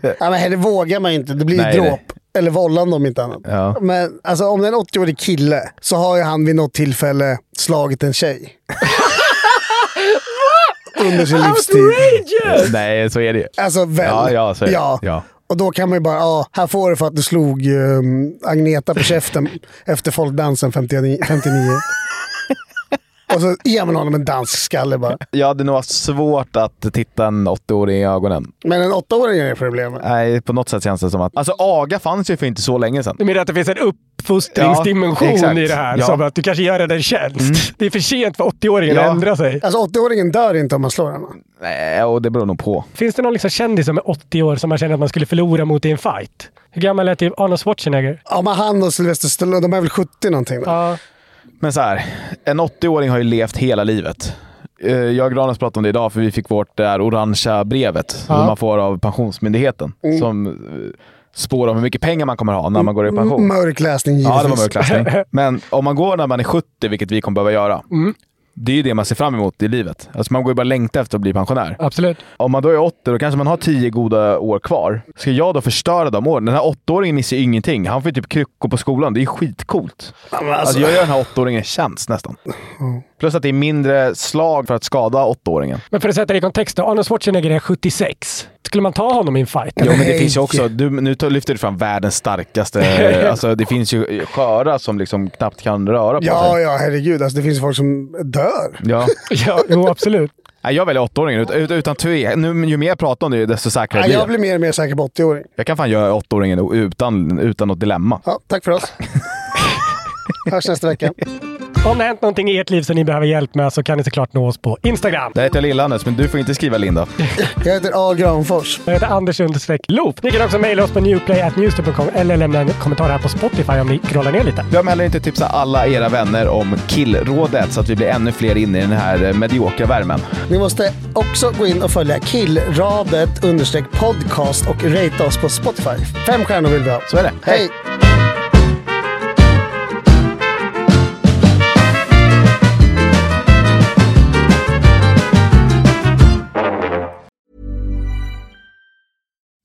[SPEAKER 3] ja, men henne vågar man ju inte. Det blir ju
[SPEAKER 1] Nej,
[SPEAKER 3] dråp. Eller vållande om inte annat.
[SPEAKER 1] Ja.
[SPEAKER 3] Men alltså, om det är en 80-årig kille så har ju han vid något tillfälle slagit en tjej. Under sin livstid.
[SPEAKER 1] Nej, så är det ju.
[SPEAKER 3] Alltså väl.
[SPEAKER 1] Ja, ja, så är det.
[SPEAKER 3] Ja.
[SPEAKER 1] ja.
[SPEAKER 3] Och då kan man ju bara, ja, här får du för att du slog ehm, Agneta på käften efter folkdansen 59. 59. Och så ger man honom en dansk skalle bara.
[SPEAKER 1] Jag hade nog haft svårt att titta en 80-åring i ögonen.
[SPEAKER 3] Men en åttaåring är problemet.
[SPEAKER 1] Nej, på något sätt känns det som att... Alltså, aga fanns ju för inte så länge sedan.
[SPEAKER 2] Du menar att det finns en uppfostringsdimension
[SPEAKER 1] Ja, exakt.
[SPEAKER 2] i det här?
[SPEAKER 1] Ja. Mm.
[SPEAKER 2] Som att du kanske gör den en tjänst. Det är för sent för 80-åringen
[SPEAKER 1] Ja.
[SPEAKER 2] att ändra sig.
[SPEAKER 3] Alltså 80-åringen dör inte om man slår honom.
[SPEAKER 1] Nej, och det beror nog på.
[SPEAKER 2] Finns det någon liksom kändis som är 80 år som man känner att man skulle förlora mot i en fight? Hur gammal är typ Arnold Schwarzenegger?
[SPEAKER 3] Ja, men han och Sylvester Stallone, de är väl 70 någonting?
[SPEAKER 2] Ja.
[SPEAKER 1] Men så här, en 80-åring har ju levt hela livet. Eh, Jag och Granis pratade om det idag, för vi fick vårt där orangea brevet
[SPEAKER 3] Ja.
[SPEAKER 1] som man får av Pensionsmyndigheten. Som eh, spår om hur mycket pengar man kommer ha när man går i pension.
[SPEAKER 3] Mörk läsning
[SPEAKER 1] Ja,
[SPEAKER 3] givetvis.
[SPEAKER 1] det var mörkläsning. Men om man går när man är 70, vilket vi kommer behöva göra, det är ju det man ser fram emot i livet. Alltså man går ju bara längta efter att bli pensionär.
[SPEAKER 2] Absolut.
[SPEAKER 1] Om man då är 80, då kanske man har 10 goda år kvar. Ska jag då förstöra de åren? Den här 8-åringen missar ju ingenting. Han får ju typ kryckor på skolan. Det är ju skitcoolt.
[SPEAKER 3] men
[SPEAKER 1] Alltså...
[SPEAKER 3] alltså-
[SPEAKER 1] jag gör den här 8-åringen en tjänst nästan. Plus att det är mindre slag för att skada 8-åringen.
[SPEAKER 2] Men för att sätta det i kontext då. Arnold Schwarzenegger är 76. Skulle man ta honom i en fight?
[SPEAKER 1] Jo, men det finns ju också... Du, nu tar- lyfter du fram världens starkaste... alltså, det finns ju sköra som liksom knappt kan röra på sig.
[SPEAKER 3] Ja, ja, herregud. Alltså, det finns folk som dör.
[SPEAKER 1] Ja.
[SPEAKER 2] ja, jo, absolut.
[SPEAKER 1] Nej, jag väljer åttaåringen ut- ut- utan tve. Nu, men ju mer jag pratar om det, desto säkrare
[SPEAKER 3] Ja,
[SPEAKER 1] blir jag.
[SPEAKER 3] jag blir mer och mer säker på 80-åring.
[SPEAKER 1] Jag kan fan göra åttaåringen utan, utan något dilemma.
[SPEAKER 3] Ja, tack för oss. Hörs nästa vecka.
[SPEAKER 2] Om det har hänt någonting i ert liv som ni behöver hjälp med så kan ni såklart nå oss på Instagram.
[SPEAKER 1] Där heter jag Lill-Anders, men du får inte skriva Linda.
[SPEAKER 3] Jag heter A. Granfors.
[SPEAKER 2] Jag heter Anders understreck Loop. Ni kan också mejla oss på newplay.newster.com eller lämna en kommentar här på Spotify om ni krollar ner lite.
[SPEAKER 1] Glöm heller inte att tipsa alla era vänner om killrådet så att vi blir ännu fler inne i den här eh, mediokra värmen.
[SPEAKER 3] Ni måste också gå in och följa killradet understreck podcast och rate oss på Spotify. Fem stjärnor vill vi ha.
[SPEAKER 1] Så är det.
[SPEAKER 3] Hej!